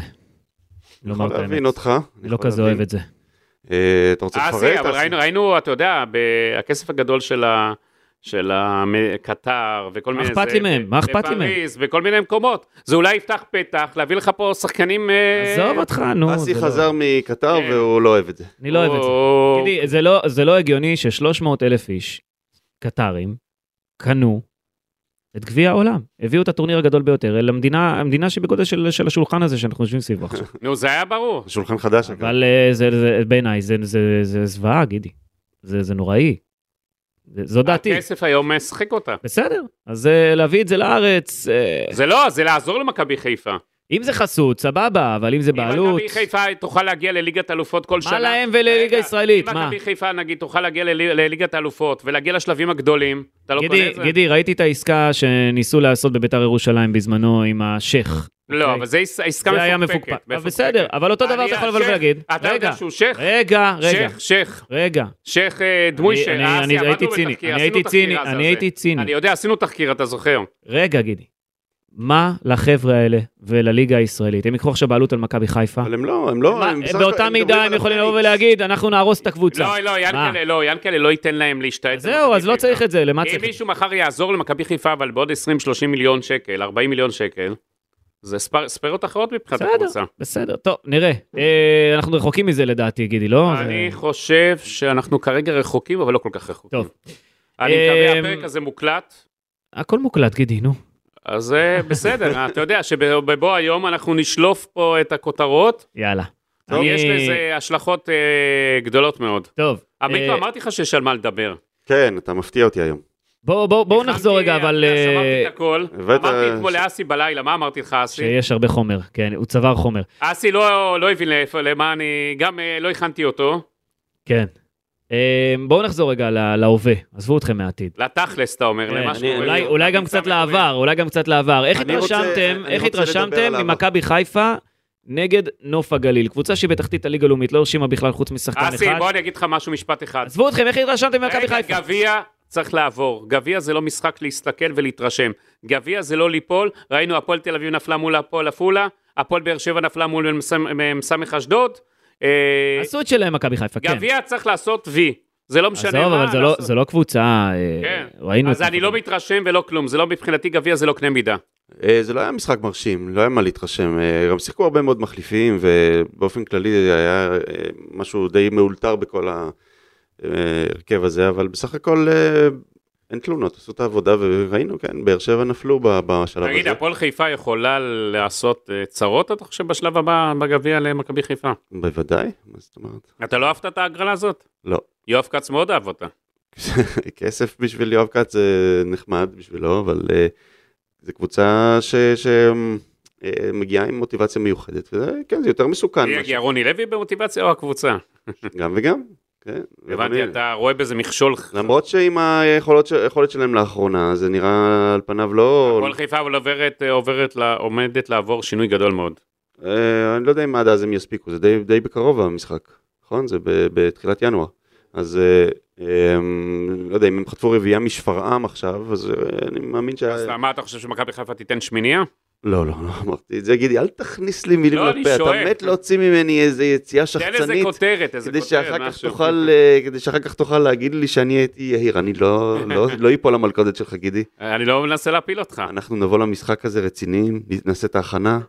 Speaker 2: לומר את
Speaker 4: יכול
Speaker 2: האמת.
Speaker 4: להבין אותך. אני
Speaker 2: לא
Speaker 4: יכול
Speaker 2: כזה
Speaker 4: להבין.
Speaker 2: אוהב את זה.
Speaker 4: אה, אתה רוצה
Speaker 3: אסי,
Speaker 4: לפרט?
Speaker 3: אבל
Speaker 4: אסי?
Speaker 3: ראינו, ראינו, אתה יודע, ב- הכסף הגדול של ה... של המ- קטר וכל
Speaker 2: מה
Speaker 3: מיני...
Speaker 2: אכפת
Speaker 3: זה,
Speaker 2: לי מהם?
Speaker 3: ב-
Speaker 2: מה אכפת לי מהם?
Speaker 3: בפריז, בכל מיני מקומות. זה אולי יפתח פתח להביא לך פה שחקנים... אה,
Speaker 2: עזוב אותך, נו. זה
Speaker 4: אסי
Speaker 2: לא-
Speaker 4: חזר מקטר
Speaker 3: כן.
Speaker 4: והוא לא אוהב את זה.
Speaker 2: אני לא אוהב את זה.
Speaker 3: או-
Speaker 2: תגידי, זה לא- זה לא הגיוני ש-300 אלף איש, קטרים, קנו את גביע העולם. הביאו את הטורניר הגדול ביותר אל המדינה, המדינה שבגודל של, של השולחן הזה שאנחנו יושבים סביבו עכשיו.
Speaker 3: נו, זה היה ברור.
Speaker 4: זה שולחן חדש. אגב.
Speaker 2: אבל אה, זה, זה, בעיניי זה, זה, זה זוועה, גידי. זה, זה נוראי. זה, זו
Speaker 4: אה,
Speaker 2: דעתי.
Speaker 3: הכסף היום משחק אותה.
Speaker 2: בסדר, אז אה, להביא את זה לארץ, אה,
Speaker 3: זה לא, זה לעזור למכבי חיפה.
Speaker 2: אם זה חסות, סבבה, אבל אם זה
Speaker 3: אם
Speaker 2: בעלות,
Speaker 3: מכבי חיפה תוכל להגיע לליגת אלופות כל שנה.
Speaker 2: מה להם ולליגה
Speaker 3: רגע,
Speaker 2: הישראלית,
Speaker 3: אם
Speaker 2: מה?
Speaker 3: מכבי חיפה נגיד תוכל להגיע ללי- לליגת אלופות ולהגיע לשלבים הגדולים, אתה לא קונה
Speaker 2: גידי,
Speaker 3: את זה?
Speaker 2: גידי, ראיתי את העסקה שניסו לעשות בביתר ירושלים בזמנו עם השייח.
Speaker 3: לא,
Speaker 2: אוקיי.
Speaker 3: אבל זה עס- עסקה
Speaker 2: זה
Speaker 3: מפוקפקת.
Speaker 2: היה מפוקפק. אבל בסדר, אבל אותו דבר
Speaker 3: אני-
Speaker 2: אתה יכול לבוא
Speaker 3: השייח,
Speaker 2: ולהגיד.
Speaker 3: אתה
Speaker 2: רגע,
Speaker 3: יודע שהוא שייח?
Speaker 2: רגע, רגע,
Speaker 3: שייח, שייח,
Speaker 2: רגע.
Speaker 3: שייח אה, דמוי
Speaker 2: אני-
Speaker 3: שייח.
Speaker 2: אני-
Speaker 3: אה,
Speaker 2: אני
Speaker 3: עבדנו
Speaker 2: הייתי ציני,
Speaker 3: בתחקיר,
Speaker 2: אני
Speaker 3: עשינו
Speaker 2: הייתי
Speaker 3: תחקיר
Speaker 2: ציני,
Speaker 3: אז על
Speaker 2: אני
Speaker 3: זה.
Speaker 2: הייתי
Speaker 3: אני
Speaker 2: ציני.
Speaker 3: יודע, עשינו תחקיר, אתה זוכר.
Speaker 2: רגע, גידי. מה לחבר'ה האלה ולליגה הישראלית? הם יקחו עכשיו בעלות על מכבי חיפה.
Speaker 4: אבל הם לא, הם לא,
Speaker 2: מה,
Speaker 4: הם בסך הכל-
Speaker 2: באותה
Speaker 4: הם
Speaker 2: מידה
Speaker 4: מדברים
Speaker 2: הם
Speaker 4: על
Speaker 2: יכולים לבוא
Speaker 4: הפניקס.
Speaker 2: ולהגיד, אנחנו נהרוס את הקבוצה.
Speaker 3: לא, לא, ינקלה, לא, ינקלה לא ייתן להם להשתעט.
Speaker 2: זהו, אז לא צריך את זה, למה
Speaker 3: אם
Speaker 2: צריך?
Speaker 3: מישהו מחר יעזור למכבי חיפה, אבל בעוד 20-30 מיליון שקל, 40 מיליון שקל, זה ספר- ספרות אחרות מבחינת
Speaker 2: בסדר.
Speaker 3: הקבוצה.
Speaker 2: בסדר, טוב, נראה. אה, אנחנו רחוקים מזה לדעתי, גידי, לא?
Speaker 3: אני
Speaker 2: זה-
Speaker 3: חושב שאנחנו כרגע רחוקים, אבל לא כל כך רחוקים.
Speaker 2: טוב.
Speaker 3: אני מקווה,
Speaker 2: אמ,
Speaker 3: הפרק הזה מוקלט,
Speaker 2: הכל מוקלט, גידי, נו.
Speaker 3: אז אה, בסדר, אתה יודע שבבוא היום אנחנו נשלוף פה את הכותרות,
Speaker 2: יאללה.
Speaker 3: טוב.
Speaker 2: אני-
Speaker 3: יש לזה השלכות אה, גדולות מאוד.
Speaker 2: טוב.
Speaker 3: עמיקו,
Speaker 2: אה,
Speaker 3: אמרתי לך שיש על מה לדבר.
Speaker 4: כן, אתה מפתיע אותי היום.
Speaker 2: בואו בואו- בואו נחזור רגע,
Speaker 3: הכנתי,
Speaker 2: אבל...
Speaker 3: אתה יודע,
Speaker 2: אה,
Speaker 3: שמעתי את הכל.
Speaker 4: הבאת-
Speaker 3: אמרתי אתמול לאסי בלילה, מה אמרתי לך, אסי?
Speaker 2: שיש הרבה חומר, כן, הוא צבר חומר.
Speaker 3: אסי לא לא הבין לאיפה, למה אני... גם אה, לא הכנתי אותו.
Speaker 2: כן. אה, בואו נחזור רגע ל- להווה, עזבו אתכם מהעתיד.
Speaker 3: לתכלס, אתה אומר,
Speaker 2: כן,
Speaker 3: למה
Speaker 2: אני-
Speaker 3: שקורה.
Speaker 2: אולי- אולי גם קצת
Speaker 3: המקצוע המקורי.
Speaker 2: לעבר, אולי גם קצת לעבר. איך
Speaker 4: אה, אני רוצה-
Speaker 2: התרשמתם,
Speaker 4: אני
Speaker 2: איך
Speaker 4: רוצה לדבר
Speaker 2: התרשמתם
Speaker 4: על העבר.
Speaker 2: ממכבי חיפה נגד נוף הגליל? קבוצה שהיא בתחתית הליגה הלאומית, לא הרשימה בכלל חוץ משחקן
Speaker 3: אסי, בוא
Speaker 2: אחד.
Speaker 3: אני אגיד לך משהו, משפט אחד.
Speaker 2: עזבו אתכם, איך התרשמתם ממכבי
Speaker 3: רגע,
Speaker 2: חיפה?
Speaker 3: גביע צריך לעבור. גביע זה לא משחק להסתכל ולהתרשם. גביע זה לא ליפול. ראינו, הפועל תל אביב נפלה מול הפועל עפולה, הפועל באר שבע נפלה מול מ"ס- מ"ס אשדוד. אה,
Speaker 2: עשו את שלהם מכבי חיפה, כן.
Speaker 3: גביע צריך לעשות וי. זה לא משנה
Speaker 2: עזוב,
Speaker 3: מה.
Speaker 2: אבל זה לא-
Speaker 3: לעשות.
Speaker 2: זה לא קבוצה, אה,
Speaker 3: כן.
Speaker 2: ראינו
Speaker 3: אז
Speaker 2: את
Speaker 3: אני
Speaker 2: זה.
Speaker 3: לא מתרשם ולא כלום, זה לא מבחינתי גביע, זה לא קנה מידה.
Speaker 4: אה, זה לא היה משחק מרשים, לא היה מה להתרשם. אה, גם שיחקו הרבה מאוד מחליפים, ובאופן כללי היה אה, משהו די מאולתר בכל ההרכב הזה, אבל בסך הכל אה, אין תלונות, עשו את העבודה, וראינו, כן, באר שבע נפלו ב- בשלב
Speaker 3: תגיד,
Speaker 4: הזה.
Speaker 3: הפועל חיפה יכולה לעשות אה, צרות, אתה חושב, בשלב הבא בגביע למכבי חיפה?
Speaker 4: בוודאי, מה זאת אומרת?
Speaker 3: אתה לא אהבת את ההגרלה הזאת?
Speaker 4: לא.
Speaker 3: יואב כץ מאוד אהב אותה.
Speaker 4: כסף בשביל יואב כץ זה נחמד בשבילו, אבל אה, זו קבוצה שמגיעה עם מוטיבציה מיוחדת, וזה, כן, זה יותר מסוכן.
Speaker 3: מי
Speaker 4: מאשר-
Speaker 3: יגיע, רוני לוי במוטיבציה או הקבוצה?
Speaker 4: גם וגם, כן.
Speaker 3: הבנתי, אתה רואה בזה מכשול.
Speaker 4: למרות שעם היכולות, ש- היכולת שלהם לאחרונה, זה נראה על פניו לא...
Speaker 3: הפועל חיפה אבל עוברת, אה, עוברת, לה- עומדת לעבור שינוי גדול מאוד.
Speaker 4: אה, אני לא יודע אם עד אז הם יספיקו, זה די, די בקרוב המשחק, נכון? זה ב, בתחילת ינואר. אז אה, אה, לא יודע, אם הם חטפו רביעייה משפרעם עכשיו, אז אה, אני מאמין שה...
Speaker 3: אז מה אתה חושב שמכבי חיפה תיתן שמיניה?
Speaker 4: לא, לא, לא אמרתי את זה, גידי, אל תכניס לי מילים
Speaker 3: לא, אני
Speaker 4: לפה,
Speaker 3: שואל.
Speaker 4: אתה מת להוציא ממני איזה יציאה
Speaker 3: תן איזה
Speaker 4: שחצנית,
Speaker 3: כותרת, איזה
Speaker 4: כדי
Speaker 3: כותרת.
Speaker 4: שאחר כך
Speaker 3: משהו.
Speaker 4: תוכל, אה, כדי שאחר כך תוכל להגיד לי שאני הייתי יהיר, אני לא, לא, לא ייפול המלכודת שלך, גידי.
Speaker 3: אני לא מנסה להפיל אותך.
Speaker 4: אנחנו נבוא למשחק הזה רציניים, נעשה את ההכנה.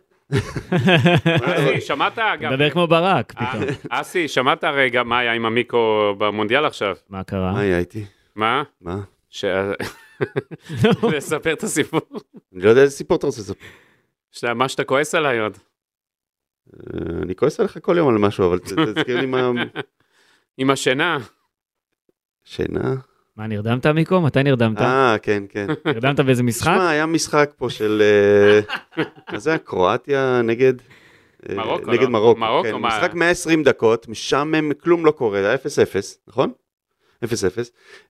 Speaker 3: אסי, שמעת אגב?
Speaker 2: מדבר כמו ברק פתאום.
Speaker 3: אה, אסי, שמעת הרגע מה היה עם המיקרו במונדיאל עכשיו?
Speaker 2: מה קרה?
Speaker 3: אה.
Speaker 4: מה היה איתי?
Speaker 3: מה?
Speaker 4: מה?
Speaker 3: ש... לספר את הסיפור.
Speaker 4: אני לא יודע איזה סיפור אתה רוצה לספר.
Speaker 3: שאתה- מה שאתה כועס עליי עוד.
Speaker 4: אה, אני כועס עליך כל יום על משהו, אבל ת- תזכיר לי מה...
Speaker 3: עם השינה.
Speaker 4: שינה?
Speaker 2: מה, נרדמת מיקו? מתי נרדמת?
Speaker 4: אה, כן, כן.
Speaker 2: נרדמת באיזה משחק?
Speaker 4: תשמע, היה משחק פה של... אה, מה זה היה? קרואטיה נגד... אה,
Speaker 3: מרוקו,
Speaker 4: נגד
Speaker 3: לא?
Speaker 4: מרוקו.
Speaker 3: מרוקו,
Speaker 4: כן,
Speaker 3: מה?
Speaker 4: משחק 120 דקות, משעמם, כלום לא קורה, זה היה 0-0, נכון? 0-0.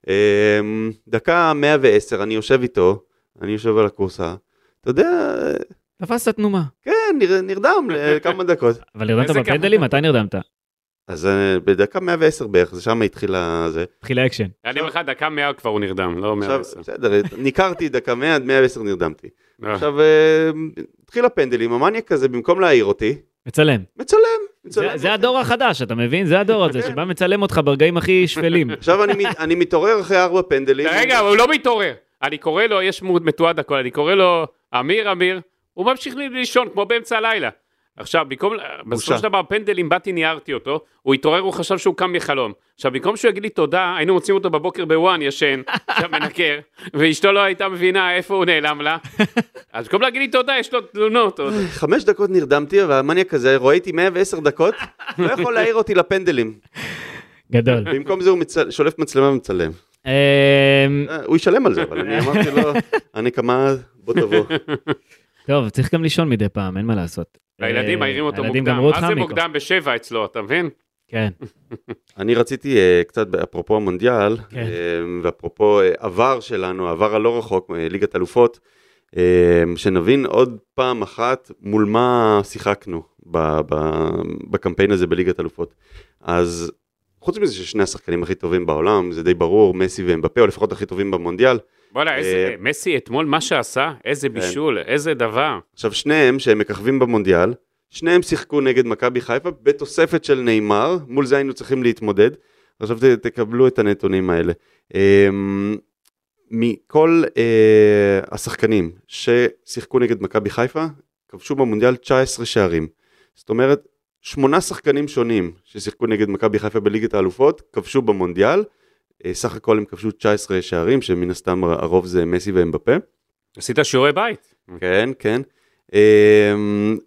Speaker 4: אה, דקה 110, אני יושב איתו, אני יושב על הכורסה. אתה יודע,
Speaker 2: תפסת תנומה.
Speaker 4: כן, נר- נרדם לכמה אה, דקות.
Speaker 2: אבל נרדמת
Speaker 3: איזה כיף.
Speaker 2: בפנדלים? מתי נרדמת?
Speaker 4: אז אה, בדקה 110 בערך, זה שם התחיל הזה.
Speaker 2: התחיל האקשן.
Speaker 3: אני אומר לך, דקה מאה כבר הוא נרדם, לא מאה
Speaker 4: עכשיו,
Speaker 3: עשר.
Speaker 4: בסדר, ניכרתי דקה 100 עד 110 נרדמתי.
Speaker 3: לא.
Speaker 4: עכשיו, אה, התחיל הפנדלים, המניאק הזה, במקום להעיר אותי,
Speaker 2: מצלם.
Speaker 4: מצלם,
Speaker 2: זה-
Speaker 4: מצלם.
Speaker 2: זה הדור החדש, אתה מבין? זה הדור הזה שבא מצלם אותך ברגעים הכי שפלים.
Speaker 4: עכשיו אני מת- אני מתעורר אחרי ארבע פנדלים.
Speaker 3: רגע, הוא לא מתעורר. אני קורא לו, יש מוד- מתועד הכל, אני קורא לו, אמיר, אמיר, הוא ממשיך ל- לישון כמו באמצע הלילה. עכשיו, במקום, בסופו של דבר פנדלים, באתי, ניירתי אותו, הוא התעורר, הוא חשב שהוא קם מחלום. עכשיו, במקום שהוא יגיד לי תודה, היינו מוצאים אותו בבוקר בוואן ישן, שם מנקר, ואשתו לא הייתה מבינה איפה הוא נעלם לה. אז במקום להגיד לי תודה, יש לו תלונות. עוד.
Speaker 4: חמש דקות נרדמתי, והמניאק הזה, רואה איתי 110 דקות, לא יכול להעיר אותי לפנדלים.
Speaker 2: גדול.
Speaker 4: במקום זה הוא מצל- שולף מצלמה ומצלם.
Speaker 2: אמ,
Speaker 4: אה, הוא ישלם על זה, אבל אני אמרתי לו, הנקמה, בוא תבוא.
Speaker 2: טוב, צריך גם לישון מדי פעם, אין מה לעשות.
Speaker 3: הילדים
Speaker 2: אה,
Speaker 3: מעירים אותו
Speaker 2: הילדים
Speaker 3: מוקדם.
Speaker 2: גמרו אותך
Speaker 3: מה זה
Speaker 2: מיקו.
Speaker 3: מוקדם בשבע אצלו, אתה מבין?
Speaker 2: כן.
Speaker 4: אני רציתי אה, קצת, אפרופו המונדיאל,
Speaker 2: כן.
Speaker 4: אה, ואפרופו אה, עבר שלנו, העבר הלא רחוק, אה, ליגת אלופות, אה, שנבין עוד פעם אחת מול מה שיחקנו ב- ב- בקמפיין הזה בליגת אלופות. אז חוץ מזה ששני השחקנים הכי טובים בעולם, זה די ברור, מסי ואמבפה, או לפחות הכי טובים במונדיאל.
Speaker 3: בוא'נה, איזה,
Speaker 4: אה, כן.
Speaker 3: מסי אתמול, מה שעשה, איזה בישול, איזה דבר.
Speaker 4: עכשיו, שניהם שהם מככבים במונדיאל, שניהם שיחקו נגד מכבי חיפה בתוספת של נאמר, מול זה היינו צריכים להתמודד. עכשיו ת, תקבלו את הנתונים האלה. אמ, מכל אה, השחקנים ששיחקו נגד מכבי חיפה, כבשו במונדיאל 19 שערים. זאת אומרת, שמונה שחקנים שונים ששיחקו נגד מכבי חיפה בליגת האלופות, כבשו במונדיאל. אה, סך הכל הם כבשו 19 שערים, שמן הסתם הרוב זה מסי ואמבפה.
Speaker 3: עשית שיעורי בית.
Speaker 4: כן, כן. אמ,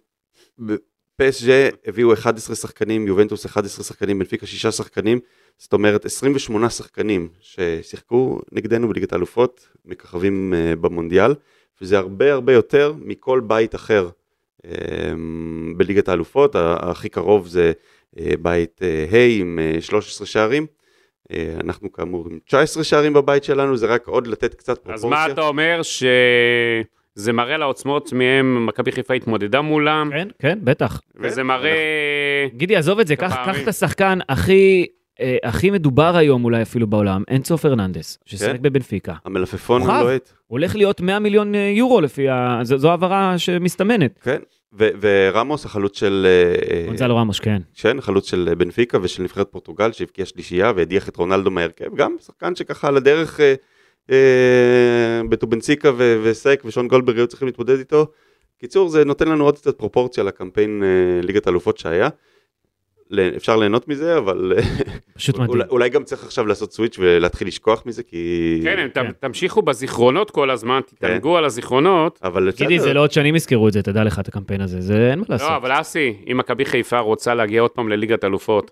Speaker 4: ב- פסג'ה הביאו 11 שחקנים, יובנטוס 11 שחקנים, בנפיקה 6 שחקנים, זאת אומרת 28 שחקנים ששיחקו נגדנו בליגת האלופות, מככבים אה, במונדיאל, וזה הרבה הרבה יותר מכל בית אחר אמ, בליגת האלופות, ה- הכי קרוב זה אה, בית אה, ה' עם אה, 13 שערים. אה, אנחנו כאמור עם 19 שערים בבית שלנו, זה רק עוד לתת קצת
Speaker 3: אז
Speaker 4: פרופורציה.
Speaker 3: מה אתה אומר שזה מראה על העוצמות מהם מכבי חיפה התמודדה מולם,
Speaker 2: כן, כן, בטח.
Speaker 3: וזה מראה...
Speaker 2: גידי, עזוב את זה, קח
Speaker 3: הפערים.
Speaker 2: קח את השחקן הכי... אה, הכי מדובר היום אולי אפילו בעולם, אנסו פרננדס, ששיחק
Speaker 4: כן.
Speaker 2: בבנפיקה.
Speaker 4: המלפפון
Speaker 2: כוכב.
Speaker 4: הלוהט.
Speaker 2: הולך להיות 100 מיליון אה, יורו לפי ה... זו זו העברה שמסתמנת.
Speaker 4: כן, ו- ורמוס החלוץ של... אה,
Speaker 2: גונזלו רמוש, כן.
Speaker 4: כן, חלוץ של בנפיקה ושל נבחרת פורטוגל שהבקיע שלישייה והדיח את רונלדו מההרכב, גם שחקן שככה על הדרך אה, אה, בטובנציקה ו- וסק ושון גולדברג היו צריכים להתמודד איתו. קיצור, זה נותן לנו עוד קצת פרופורציה לקמפיין אה, ליגת האלופות שהיה. ל- אפשר ליהנות מזה, אבל אה,
Speaker 2: פשוט מדהים.
Speaker 4: אולי, אולי גם צריך עכשיו לעשות סוויץ' ולהתחיל לשכוח מזה, כי...
Speaker 3: כן, הם ת-
Speaker 2: כן.
Speaker 3: תמשיכו בזיכרונות כל הזמן,
Speaker 4: כן.
Speaker 3: תתענגו על הזיכרונות.
Speaker 4: אבל
Speaker 2: גידי, זה לא עוד שנים יזכרו את זה, תדע לך את הקמפיין הזה, זה אין מה לעשות.
Speaker 3: לא, אבל אסי, אם מכבי חיפה רוצה להגיע עוד פעם לליגת אלופות,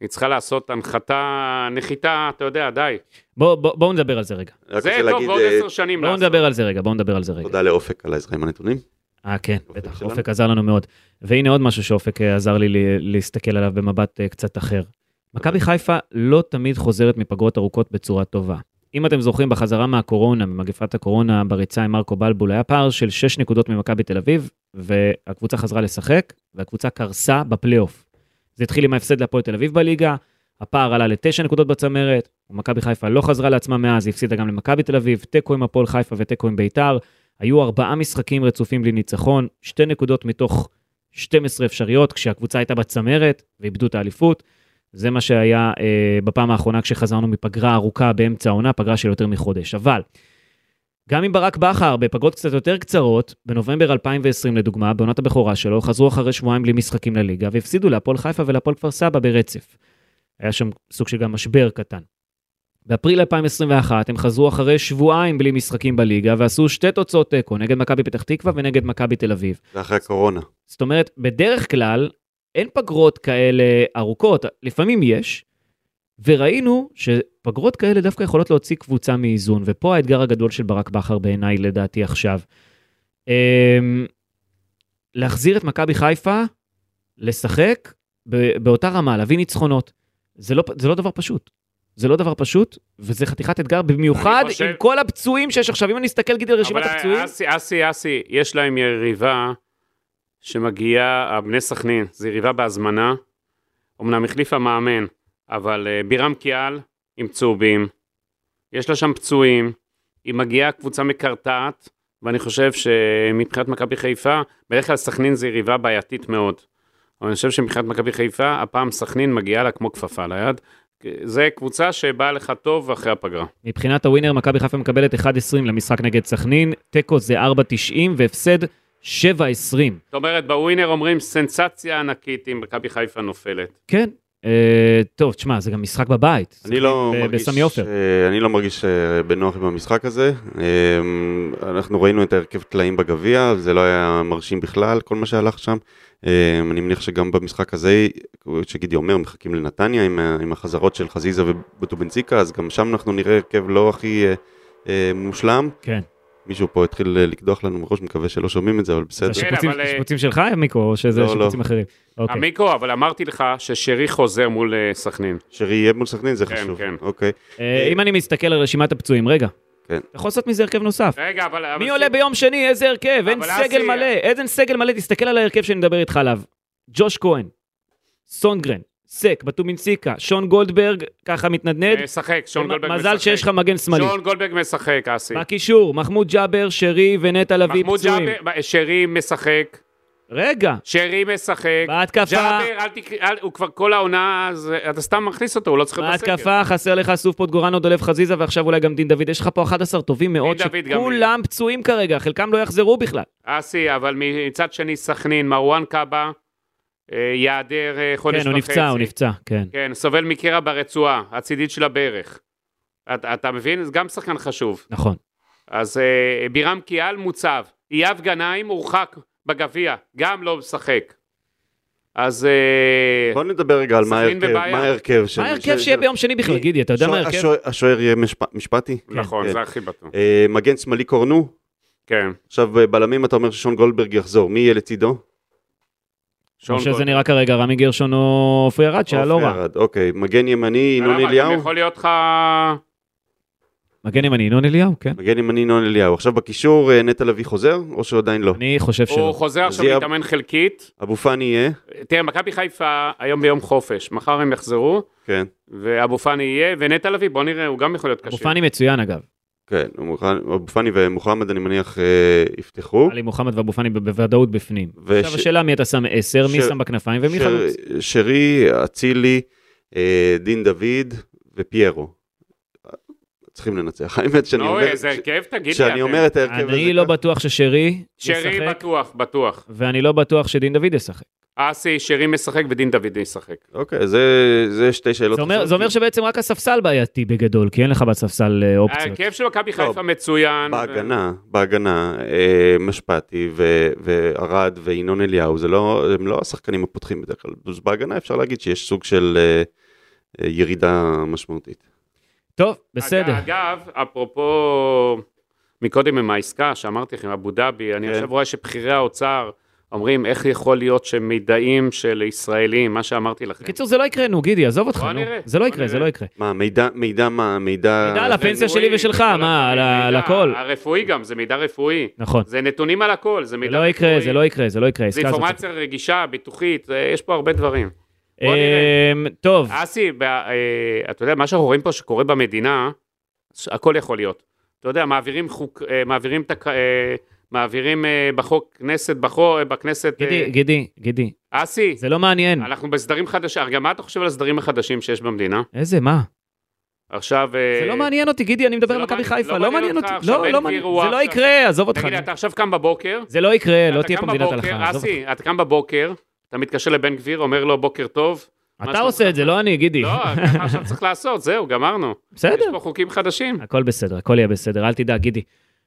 Speaker 3: היא צריכה לעשות הנחתה, נחיתה, אתה יודע, די.
Speaker 2: בוא- בוא- בואו נדבר על זה רגע.
Speaker 4: רק
Speaker 3: זה
Speaker 4: רוצה
Speaker 3: טוב
Speaker 4: להגיד
Speaker 3: בעוד
Speaker 4: אה,
Speaker 3: עשר שנים.
Speaker 2: בואו
Speaker 3: לעשות.
Speaker 2: נדבר על זה רגע, בואו נדבר על זה רגע.
Speaker 4: תודה לאופק על העזרה עם הנתונים.
Speaker 2: אה, כן,
Speaker 4: אופק
Speaker 2: בטח,
Speaker 4: שלנו.
Speaker 2: אופק עזר לנו מאוד. והנה עוד משהו שאופק אה, עזר לי ל- להסתכל עליו במבט אה, קצת אחר.
Speaker 4: אוקיי.
Speaker 2: מכבי חיפה לא תמיד חוזרת מפגרות ארוכות בצורה טובה. אם אתם זוכרים, בחזרה מהקורונה, ממגפת הקורונה, בריצה עם מרקו בלבול, היה פער של 6 נקודות ממכבי תל אביב, והקבוצה חזרה לשחק, והקבוצה קרסה בפלייאוף. זה התחיל עם ההפסד להפועל תל אביב בליגה, הפער עלה לתשע נקודות בצמרת, ומכבי חיפה לא חזרה לעצמה מאז, היא הפסידה גם למכבי תל אביב, תיקו עם הפועל חיפה ותיקו עם ביתר. היו ארבעה משחקים רצופים בלי ניצחון, שתי נקודות מתוך 12 אפשריות, כשהקבוצה הייתה בצמרת ואיבדו את האליפות. זה מה שהיה אה, בפעם האחרונה כשחזרנו מפגרה ארוכה באמצע העונה, פגרה של יותר מחודש. אבל גם עם ברק בכר, בפגרות קצת יותר קצרות, בנובמבר 2020 לדוגמה, בעונת הבכורה שלו, חזרו אחרי שבועיים בלי משחקים לליגה, והפסידו להפועל חיפה ולהפועל כפר סבא ברצף. היה שם סוג של גם משבר קטן. באפריל 2021 הם חזרו אחרי שבועיים בלי משחקים בליגה, ועשו שתי תוצאות תיקו, נגד מכבי פתח תקווה ונגד מכבי תל אביב.
Speaker 4: זה אחרי הקורונה.
Speaker 2: זאת אומרת, בדרך כלל אין פגרות כאלה ארוכות, לפעמים יש, וראינו שפגרות כאלה דווקא יכולות להוציא קבוצה מאיזון, ופה האתגר הגדול של ברק בכר בעיניי, לדעתי עכשיו. אמ, להחזיר את מכבי חיפה, לשחק ב- באותה רמה, להביא ניצחונות. זה לא, פ- זה לא דבר פשוט. זה לא דבר פשוט, וזה חתיכת אתגר, במיוחד
Speaker 3: חושב-
Speaker 2: עם כל הפצועים שיש עכשיו. אם אני אסתכל, גידי, על רשימת
Speaker 3: אבל אה,
Speaker 2: הפצועים,
Speaker 3: אסי, אסי, אסי, יש להם יריבה שמגיעה, אה, בני סכנין, זו יריבה בהזמנה. אמנם החליפה מאמן, אבל אה, בירם קיאל עם צהובים, יש לה שם פצועים, היא מגיעה קבוצה מקרטעת, ואני חושב שמבחינת מכבי חיפה, בדרך כלל סכנין זו יריבה בעייתית מאוד. אבל אני חושב שמבחינת מכבי חיפה, הפעם סכנין מגיעה לה כמו כפפה ליד. זה קבוצה שבאה לך טוב אחרי הפגרה.
Speaker 2: מבחינת הווינר, מכבי חיפה מקבלת 1.20 למשחק נגד סכנין, תיקו זה 4.90 והפסד 7.20.
Speaker 3: זאת אומרת, בווינר אומרים סנסציה ענקית אם מכבי חיפה נופלת.
Speaker 2: כן. אה, טוב, תשמע, זה גם משחק בבית.
Speaker 4: אני לא,
Speaker 2: ב-
Speaker 4: מרגיש,
Speaker 2: בסמי עופר.
Speaker 4: אה, אני לא מרגיש אה, בנוח עם המשחק הזה. אה, אנחנו ראינו את ההרכב טלאים בגביע, זה לא היה מרשים בכלל, כל מה שהלך שם. אה, אני מניח שגם במשחק הזה, שגידי אומר, מחכים לנתניה עם, ה- עם החזרות של חזיזה ובטובנציקה, אז גם שם אנחנו נראה הרכב לא הכי אה, אה, מושלם.
Speaker 2: כן.
Speaker 4: מישהו פה התחיל אה, לקדוח לנו מראש, מקווה שלא שומעים את זה, אבל
Speaker 2: זה
Speaker 4: בסדר.
Speaker 3: השם.
Speaker 2: השיפוצים
Speaker 3: אבל, אה,
Speaker 2: שיפוצים שלך, מיקו, או שזה
Speaker 4: לא, לא.
Speaker 2: שיפוצים אחרים?
Speaker 3: Okay.
Speaker 2: אוקיי.
Speaker 3: המיקרו, אבל אמרתי לך ששרי חוזר מול אה, סכנין.
Speaker 4: שרי יהיה מול סכנין, זה
Speaker 3: כן,
Speaker 4: חשוב.
Speaker 3: כן.
Speaker 4: אוקיי.
Speaker 2: אה, אם אני מסתכל על רשימת הפצועים, רגע.
Speaker 4: כן.
Speaker 2: אתה יכול לעשות מזה הרכב נוסף.
Speaker 3: רגע, אבל... אה, אבל-
Speaker 2: מי עולה ביום שני? איזה הרכב? אין
Speaker 3: אבל
Speaker 2: סגל
Speaker 3: אסי-
Speaker 2: מלא. איזה סגל מלא? תסתכל על ההרכב שאני מדבר איתך עליו. ג'וש כהן, סונגרן, סק, בטומינסיקה, שון גולדברג, ככה מתנדנד.
Speaker 3: אה, משחק, שון
Speaker 2: מ-
Speaker 3: גולדברג משחק.
Speaker 2: מזל שיש לך מגן שמאלי.
Speaker 3: שון גולדברג משחק, אסי.
Speaker 2: בקישור, מחמוד ג'אבר, שרי ונטע לביא
Speaker 3: מחמוד
Speaker 2: פצועים.
Speaker 3: ג'אבר, שרי משחק.
Speaker 2: רגע,
Speaker 3: שרי משחק,
Speaker 2: בהתקפה-
Speaker 3: ג'אבר, אל תקרא, אל- הוא כבר כל העונה, אז אה, אתה סתם מכניס אותו, הוא לא צריך להיות בסקר.
Speaker 2: בהתקפה חסר לך סוף פוטגורנו, דולב חזיזה ועכשיו אולי גם דין דוד. יש לך פה 11 טובים מאוד,
Speaker 3: דוד גם-
Speaker 2: שכולם פצועים כרגע, חלקם לא יחזרו בכלל.
Speaker 3: אסי, אבל מצד שני סכנין, מרואן קאבה, אה, ייעדר אה, חודש
Speaker 2: כן,
Speaker 3: וחצי.
Speaker 2: הוא נפצע, הוא נפצע, כן.
Speaker 3: כן, סובל מקרע ברצועה, הצידית של הברך. אתה, אתה מבין? זה גם שחקן חשוב.
Speaker 2: נכון.
Speaker 3: אז אה, בירם קיאל מוצב, אייב גנאים הורחק בגביע, גם לא משחק. אז אה,
Speaker 4: בוא נדבר רגע על מה
Speaker 3: סכנין
Speaker 4: ההרכב,
Speaker 3: בבעיה.
Speaker 4: מה ההרכב של...
Speaker 2: מה ההרכב שיהיה ביום שני בכלל,
Speaker 4: מי-
Speaker 2: גידי? אתה יודע מה ההרכב?
Speaker 4: השוער- השוער יהיה משפ- משפטי?
Speaker 3: נכון,
Speaker 4: כן.
Speaker 3: זה הכי בטוח.
Speaker 4: אה, מגן שמאלי קורנו?
Speaker 3: כן.
Speaker 4: עכשיו אה, בלמים אתה אומר ששון גולדברג יחזור, מי יהיה לצידו?
Speaker 2: כמו
Speaker 3: שון
Speaker 2: שזה
Speaker 3: גולד.
Speaker 2: נראה כרגע, רמי גרשון או עופרי ארד, שהיה לא
Speaker 4: עופר
Speaker 2: רע.
Speaker 4: ירד, אוקיי, מגן ימני ינון
Speaker 3: למה? גם
Speaker 4: אליהו?
Speaker 3: אה, יכול להיות לך...
Speaker 2: מגן ימני, ינון אליהו, כן.
Speaker 4: מגן ימני ינון אליהו. עכשיו בקישור אה, נטע לביא חוזר, או שעדיין לא?
Speaker 2: אני חושב
Speaker 3: הוא
Speaker 2: שלא.
Speaker 3: חוזר
Speaker 4: אז
Speaker 3: עכשיו
Speaker 4: יהיה-
Speaker 3: להתאמן חלקית.
Speaker 4: אבו פאני יהיה?
Speaker 3: תראה, מכבי חיפה היום ביום חופש, מחר הם יחזרו,
Speaker 4: כן,
Speaker 3: ואבו פאני יהיה, ונטע לביא, בוא נראה, הוא גם יכול להיות קשה.
Speaker 2: מופני מצוין אגב.
Speaker 4: כן, הוא מוכן- אבו פאני ומוחמד אני מניח אה, יפתחו.
Speaker 2: עלי מוחמד ואבו פאני ב- בוודאות בפנים.
Speaker 4: וש-
Speaker 2: עכשיו השאלה מי אתה שם עשר, מי
Speaker 4: ש-
Speaker 2: שם בכנפיים ומי
Speaker 4: שר-
Speaker 2: חלוץ.
Speaker 4: שרי, אצילי, אה, דין דוד ופיירו. צריכים לנצח. האמת שאני
Speaker 3: נו,
Speaker 4: אומר...
Speaker 3: איזה הרכב, תגיד לי.
Speaker 4: שאני
Speaker 3: אה, אתם.
Speaker 4: אומר את ההרכב הזה...
Speaker 2: אני לא
Speaker 4: ככה.
Speaker 2: בטוח ששרי
Speaker 3: שרי
Speaker 2: ישחק,
Speaker 3: בטוח, בטוח.
Speaker 2: ואני לא בטוח שדין דוד ישחק.
Speaker 3: אסי, שרי משחק ודין דוד ישחק.
Speaker 4: אוקיי, זה זה לא שתי שאלות.
Speaker 2: זה אומר-
Speaker 4: חשובות.
Speaker 2: זה אומר שבעצם רק הספסל בעייתי בגדול, כי אין לך בספסל אה, אופציות.
Speaker 3: ההרכב של מכבי חיפה
Speaker 4: טוב,
Speaker 3: מצוין. אה,
Speaker 4: בהגנה, בהגנה, אה, משפטי ו- וערד וינון אליהו, זה לא, הם לא השחקנים הפותחים בדרך כלל. אז בהגנה אפשר להגיד שיש סוג של אה, אה, ירידה משמעותית.
Speaker 2: טוב, בסדר.
Speaker 3: אגב, אגב, אפרופו מקודם עם העסקה שאמרתי לכם, אבו דאבי, אני
Speaker 4: כן.
Speaker 3: עכשיו רואה שבכירי האוצר אומרים, איך יכול להיות שמידעים של ישראלים, מה שאמרתי לכם.
Speaker 2: בקיצור, זה לא יקרה, נו, גידי, עזוב אותך,
Speaker 3: בוא
Speaker 2: נו.
Speaker 3: נראה,
Speaker 2: זה לא
Speaker 3: בוא
Speaker 2: יקרה, זה
Speaker 3: נראה. אה,
Speaker 2: לא יקרה.
Speaker 4: מה, מידע, מידע מה, מידע...
Speaker 2: מידע על הפ- הפנסיה שלי
Speaker 3: רפואי,
Speaker 2: ושלך,
Speaker 3: וכל
Speaker 2: מה, על ה-
Speaker 3: הדברים,
Speaker 2: על
Speaker 3: מידע.
Speaker 2: הכל.
Speaker 3: הרפואי גם, זה מידע רפואי.
Speaker 2: נכון.
Speaker 3: אה, זה נתונים על הכל, זה
Speaker 2: זה
Speaker 3: מידע
Speaker 2: לא
Speaker 3: רפואי.
Speaker 2: יקרה, זה לא יקרה, זה לא יקרה,
Speaker 3: זה
Speaker 2: העסקה הזאת.
Speaker 3: אינפורמציה רגישה, ביטוחית, אה, יש פה הרבה דברים. בוא נראה.
Speaker 2: אמ, טוב,
Speaker 3: אסי, ב- אה, אתה יודע, מה שאנחנו רואים פה שקורה במדינה, ש- הכל יכול להיות. אתה יודע, מעבירים חוק, אה, מעבירים תק... אה, מעבירים אה, בחוק כנסת, בחו- אה, בכנסת... אה,
Speaker 2: גידי, גידי, גידי,
Speaker 3: אסי,
Speaker 2: זה לא מעניין.
Speaker 3: אנחנו בסדרים חדשים, הרי גם מה אתה חושב על הסדרים החדשים שיש במדינה?
Speaker 2: איזה, מה?
Speaker 3: עכשיו... אה,
Speaker 2: זה לא מעניין אותי, גידי, אני מדבר על
Speaker 3: לא
Speaker 2: מכבי
Speaker 3: מעניין-
Speaker 2: חיפה,
Speaker 3: לא
Speaker 2: לא
Speaker 3: מעניין
Speaker 2: מעניין
Speaker 3: אותך
Speaker 2: אותי.
Speaker 3: עכשיו,
Speaker 2: לא,
Speaker 3: בן
Speaker 2: לא
Speaker 3: גביר
Speaker 2: מעניין.
Speaker 3: הוא
Speaker 2: זה לא
Speaker 3: עכשיו-
Speaker 2: יקרה, עזוב אותך.
Speaker 3: תגיד לי,
Speaker 2: נו.
Speaker 3: אתה עכשיו קם בבוקר,
Speaker 2: זה לא יקרה, לא
Speaker 3: אתה
Speaker 2: תהיה
Speaker 3: קם
Speaker 2: פה מדינת
Speaker 3: בבוקר,
Speaker 2: הלכה. עזוב
Speaker 3: אסי, אתה קם בבוקר, אתה מתקשר לבן גביר, אומר לו בוקר טוב.
Speaker 2: אותך.
Speaker 3: מה
Speaker 2: אתה
Speaker 3: שלומך?
Speaker 2: עושה את זה, לא אני, גידי.
Speaker 3: לא, ככה עכשיו צריך לעשות, זהו, גמרנו. יש
Speaker 2: בסדר,
Speaker 3: פה חוקים חדשים.
Speaker 2: הכל בסדר, הכל יהיה בסדר, אל תדאג, גידי.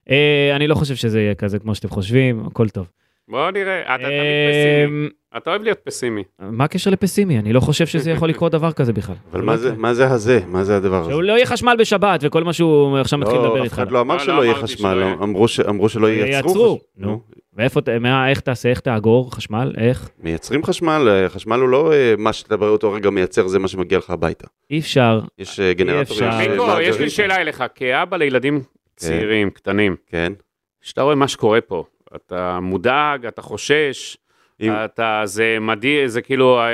Speaker 2: אה, אני לא חושב שזה יהיה כזה כמו שאתם חושבים, הכל טוב.
Speaker 3: בוא נראה, אתה תמיד פסימי.
Speaker 2: אמ,
Speaker 3: אתה אוהב להיות פסימי.
Speaker 2: מה הקשר לפסימי? אני לא חושב שזה יכול לקרות דבר כזה בכלל.
Speaker 4: אבל
Speaker 2: לא
Speaker 4: מה זה,
Speaker 2: יקרה.
Speaker 4: מה זה הזה? מה זה הדבר הזה?
Speaker 2: שהוא לא יהיה חשמל בשבת וכל מה שהוא עכשיו מתחיל לדבר
Speaker 4: לא, אף
Speaker 2: איתך.
Speaker 4: אחד לא אמר
Speaker 3: לא,
Speaker 4: שלא
Speaker 3: לא
Speaker 4: יהיה
Speaker 3: אמרתי
Speaker 4: חשמל,
Speaker 3: שלא יהיה.
Speaker 4: אמרו ש- אמרו שלא ייצרו.
Speaker 2: ייצרו,
Speaker 4: חשמל.
Speaker 2: נו. ואיפה, ת- מה, איך תעשה, איך תאגור חשמל, איך?
Speaker 4: מייצרים חשמל, אה, חשמל הוא לא אה, מה שאתה באותו רגע מייצר, זה מה שמגיע לך הביתה.
Speaker 2: אי אפשר.
Speaker 4: יש אה, כן. גנרטורים.
Speaker 2: אפשר.
Speaker 4: של
Speaker 3: מיקו,
Speaker 4: מאגרים.
Speaker 3: יש לי שאלה אליך, כאבא לילדים צעירים, קטנים,
Speaker 4: כן.
Speaker 3: כשאתה רואה מה שקורה פה, אתה מודאג, אתה חושש,
Speaker 4: אם-
Speaker 3: אתה, זה מדהים, זה כאילו, אה,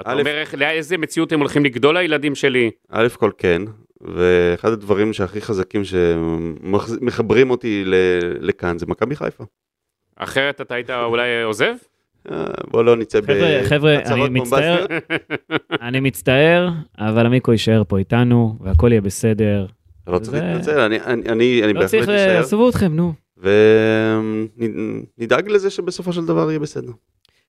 Speaker 3: אתה
Speaker 4: א',
Speaker 3: אומר איך- לאיזה מציאות הם הולכים לגדול הילדים שלי.
Speaker 4: א' כל כן, ואחד הדברים שהכי חזקים שמחברים אותי ל- לכאן זה מכבי חיפה.
Speaker 3: אחרת אתה היית אולי עוזב?
Speaker 4: אה, בוא לא נצא
Speaker 2: חבר'ה, חבר'ה, אני
Speaker 4: הצהרות
Speaker 2: מצטער,
Speaker 4: בומבסטיות.
Speaker 2: אני מצטער, אבל המיקו יישאר פה איתנו, והכל יהיה בסדר.
Speaker 4: אתה לא צריך
Speaker 2: זה-
Speaker 4: להתנצל, אני- אני- אני אני
Speaker 2: לא
Speaker 4: בהחלט
Speaker 2: צריך,
Speaker 4: אשאר,
Speaker 2: עזבו אתכם, נו.
Speaker 4: ונדאג לזה שבסופו של דבר יהיה בסדר,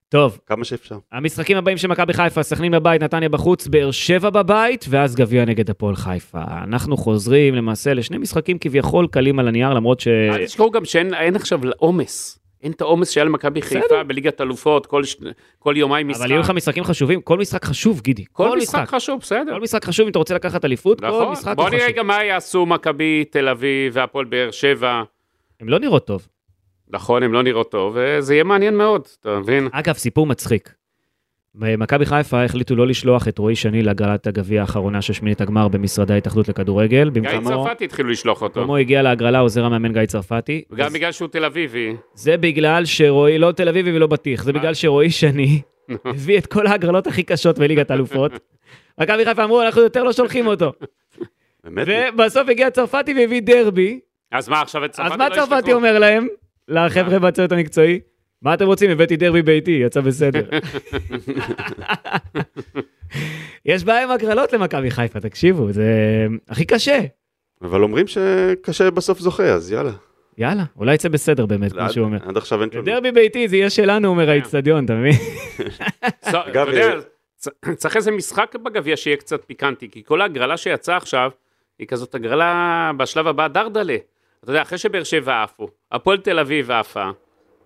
Speaker 2: טוב,
Speaker 4: כמה שאפשר.
Speaker 2: המשחקים הבאים של מכבי חיפה, סכנין בבית, נתניה בחוץ, באר שבע בבית, ואז גביע נגד הפועל חיפה. אנחנו חוזרים למעשה לשני משחקים כביכול קלים על הנייר, למרות ש...
Speaker 3: אל תשכחו אה, גם שאין אין עכשיו עומס. אין את העומס שהיה למכבי חיפה בליגת אלופות, כל ש- כל יומיים משחק.
Speaker 2: אבל יהיו לך משחקים חשובים, כל משחק חשוב, גידי.
Speaker 3: כל משחק חשוב, בסדר.
Speaker 2: כל משחק חשוב, אם אתה רוצה לקחת אליפות, כל
Speaker 3: נכון,
Speaker 2: משחק הוא
Speaker 3: בוא נראה
Speaker 2: חשוב.
Speaker 3: גם מה יעשו מכבי תל אביב והפועל באר שבע.
Speaker 2: הם לא נראות טוב.
Speaker 3: נכון, הם לא נראות טוב, וזה יהיה מעניין מאוד, אתה מבין?
Speaker 2: אגב, סיפור מצחיק. מכבי חיפה החליטו לא לשלוח את רועי שני להגרלת הגביע האחרונה של שמינית הגמר במשרדי ההתאחדות לכדורגל.
Speaker 3: גיא
Speaker 2: במקומו,
Speaker 3: צרפתי התחילו לשלוח אותו.
Speaker 2: במקומו הגיע להגרלה עוזר המאמן גיא צרפתי.
Speaker 3: גם
Speaker 2: אז
Speaker 3: בגלל שהוא תל אביבי.
Speaker 2: זה בגלל שרועי, לא תל אביבי ולא בטיח, זה
Speaker 3: מה?
Speaker 2: בגלל שרועי שני הביא את כל ההגרלות הכי קשות בליגת האלופות. מכבי חיפה אמרו, אנחנו יותר לא שולחים אותו.
Speaker 4: באמת,
Speaker 2: ובסוף הגיע צרפתי והביא דרבי.
Speaker 3: אז מה עכשיו את צרפתי
Speaker 2: אז מה
Speaker 3: לא
Speaker 2: צרפתי
Speaker 3: ישלחו?
Speaker 2: אומר להם? לחבר'ה בצוות המקצועי? מה אתם רוצים? הבאתי דרבי ביתי, יצא בסדר. יש בעיה עם הגרלות למכבי חיפה, תקשיבו, זה הכי קשה.
Speaker 4: אבל אומרים שקשה בסוף זוכה, אז יאללה.
Speaker 2: יאללה, אולי יצא בסדר באמת, כמו
Speaker 3: לא,
Speaker 4: עד-
Speaker 2: שהוא אומר.
Speaker 4: עד עכשיו אין תלונות.
Speaker 2: דרבי ביתי זה יהיה שלנו,
Speaker 3: כן.
Speaker 2: אומר האיצטדיון, אתה מבין?
Speaker 3: צ- אתה
Speaker 4: אגב,
Speaker 3: יודע,
Speaker 4: אה,
Speaker 3: צ- צריך איזה משחק בגביע שיהיה קצת פיקנטי, כי כל ההגרלה שיצאה עכשיו, היא כזאת הגרלה בשלב הבא דרדלה. אתה יודע, אחרי שבאר שבע עפו, הפועל תל אביב עפה,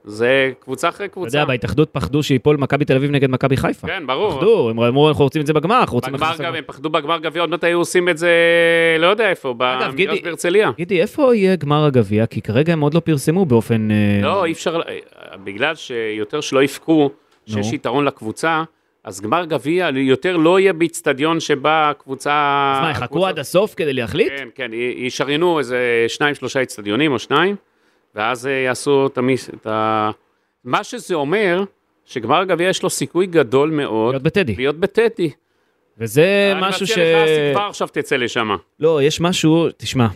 Speaker 3: זה קבוצה אחרי
Speaker 2: אתה
Speaker 3: קבוצה.
Speaker 2: יודע, בהתאחדות פחדו שיפול מכבי תל אביב נגד מכבי חיפה.
Speaker 3: כן, ברור.
Speaker 2: פחדו, הם אמרו, אנחנו רוצים את זה בגמר, אנחנו רוצים...
Speaker 3: בגמר
Speaker 2: להכניס
Speaker 3: גם,
Speaker 2: אותם."
Speaker 3: הם פחדו בגמר גביע, עוד מעט היו עושים את זה, לא יודע איפה, במגרש
Speaker 2: גידי-
Speaker 3: בהרצליה.
Speaker 2: גידי, איפה יהיה גמר הגביע? כי כרגע הם עוד לא פרסמו באופן... אה,
Speaker 3: לא, אי אפשר, אה, בגלל שיותר שלא יבכו, שיש
Speaker 2: נו.
Speaker 3: יתרון לקבוצה, אז גמר גביע יותר לא יהיה באיצטדיון שבה הקבוצה...
Speaker 2: אז מה, יחכו עד הסוף כדי להחליט?
Speaker 3: אה, כן, כן, י- ישריינו איזה שניים, שלושה אצטדיונים או שניים, ואז אה, יעשו את המיס... את ה... מה שזה אומר, שגמר הגביע יש לו סיכוי גדול מאוד
Speaker 2: להיות בטדי.
Speaker 3: להיות בטדי.
Speaker 2: וזה משהו ש...
Speaker 3: אני מציע לך, אסי, כבר עכשיו תצא לשם.
Speaker 2: לא, יש משהו, תשמע,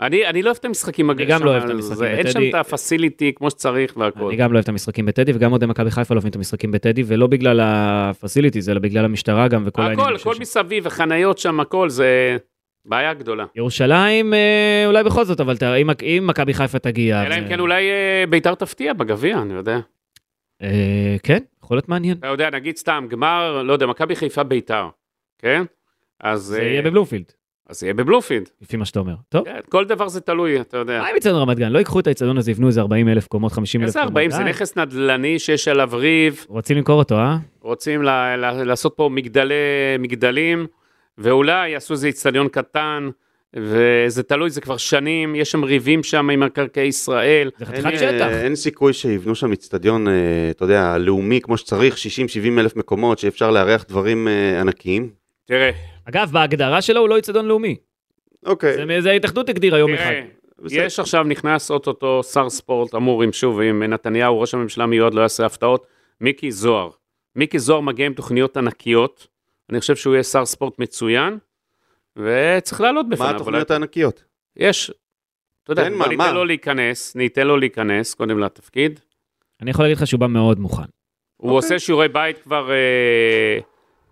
Speaker 3: אני, אני לא אוהב את המשחקים
Speaker 2: אני גם לא אוהב את
Speaker 3: שם,
Speaker 2: המשחקים
Speaker 3: זה- אין שם
Speaker 2: בטדי.
Speaker 3: את הפסיליטי כמו שצריך והכל.
Speaker 2: אני גם לא אוהב את המשחקים בטדי, וגם אוהדי מכבי חיפה לא אוהבים את המשחקים בטדי, ולא בגלל הפסיליטיז, אלא בגלל המשטרה גם וכל העניינים
Speaker 3: הכל, הכל
Speaker 2: שיש שם.
Speaker 3: מסביב, החניות שם, הכל, זה בעיה גדולה.
Speaker 2: ירושלים, אה, אולי בכל זאת, אבל תראה, אם- אם מכבי חיפה תגיע...
Speaker 3: אלא אם
Speaker 2: אה,
Speaker 3: כן אולי אה, ביתר תפתיע בגביע, אני יודע.
Speaker 2: אה, כן, יכול להיות מעניין.
Speaker 3: אתה יודע, נגיד סתם, גמר, לא יודע, מכבי חיפה ביתר, כן? אז
Speaker 2: זה
Speaker 3: אה,
Speaker 2: יהיה בבלומפילד,
Speaker 3: אז זה יהיה בבלומפילד.
Speaker 2: לפי מה שאתה אומר. טוב.
Speaker 3: כן, כל דבר זה תלוי, אתה יודע.
Speaker 2: מה עם אצטדיון רמת גן? לא ייקחו את האצטדיון הזה, יבנו איזה 40 אלף קומות, 50 אלף
Speaker 3: איזה
Speaker 2: קומות.
Speaker 3: 40 זה
Speaker 2: די.
Speaker 3: נכס נדל"ני שיש עליו ריב,
Speaker 2: רוצים למכור אותו, אה?
Speaker 3: רוצים ל- ל- לעשות פה מגדלי, מגדלים, ואולי יעשו איזה איצטדיון קטן, וזה תלוי, זה כבר שנים, יש שם ריבים שם עם מקרקעי ישראל.
Speaker 2: זה
Speaker 4: אין,
Speaker 2: חתיכת
Speaker 4: אה,
Speaker 2: שטח.
Speaker 4: אין סיכוי שיבנו שם אצטדיון, אה, אתה יודע, לאומי כמו שצריך, 60-70 אלף מקומות, שאפשר לארח דברים אה, ענקיים.
Speaker 3: תראה,
Speaker 2: אגב, בהגדרה שלו הוא לא אצטדיון לאומי.
Speaker 3: אה.
Speaker 4: אוקיי,
Speaker 2: זה- זה ההתאחדות הגדירה יום אחד.
Speaker 3: תראה,
Speaker 4: בסדר.
Speaker 3: יש עכשיו נכנס אוטוטו שר ספורט, אמור אם שוב, אם נתניהו, ראש הממשלה המיועד, לא יעשה הפתעות, מיקי זוהר. מיקי זוהר מגיע עם תוכניות ענקיות, אני חושב שהוא יהיה שר ספורט מצוין, וצריך לעלות בפניו.
Speaker 4: מה
Speaker 3: אבל-
Speaker 4: התוכניות הענקיות?
Speaker 3: יש, אתה יודע,
Speaker 4: תן
Speaker 3: בוא
Speaker 4: מה, מה?
Speaker 3: ניתן לו להיכנס, ניתן לו להיכנס קודם לתפקיד.
Speaker 2: אני יכול להגיד לך שהוא בא מאוד מוכן.
Speaker 3: הוא
Speaker 4: אוקיי.
Speaker 3: עושה שיעורי בית כבר אה,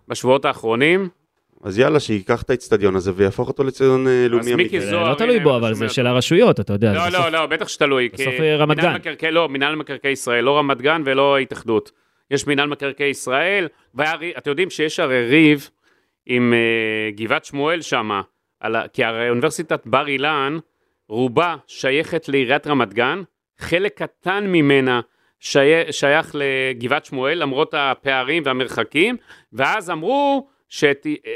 Speaker 3: בשבועות האחרונים.
Speaker 4: אז יאללה, שייקח את האצטדיון הזה ויהפוך אותו לאצטדיון אה, לאומי
Speaker 3: מיקי
Speaker 4: אמיתי.
Speaker 3: זוהר-
Speaker 2: זה לא תלוי
Speaker 3: הנה,
Speaker 2: בו,
Speaker 3: אני
Speaker 2: אבל
Speaker 3: שומע
Speaker 2: זה
Speaker 3: אותו.
Speaker 2: של הרשויות, אתה יודע.
Speaker 3: לא,
Speaker 2: זה
Speaker 3: לא,
Speaker 2: בסוף-
Speaker 3: לא, בטח שתלוי. כי
Speaker 2: בסוף, אה, רמת גן.
Speaker 3: מינהל מקרקעי- לא, מינהל מקרקעי ישראל, לא רמת גן ולא ההתאחדות. יש מינהל מקרקעי ישראל, והיה רי- אתם יודעים שיש הרי ריב עם אה, גבעת שמואל שמה, על ה- כי הרי אוניברסיטת בר אילן, רובה שייכת לעיריית רמת גן, חלק קטן ממנה שי- שייך לגבעת שמואל, למרות הפערים והמרחקים, ואז אמרו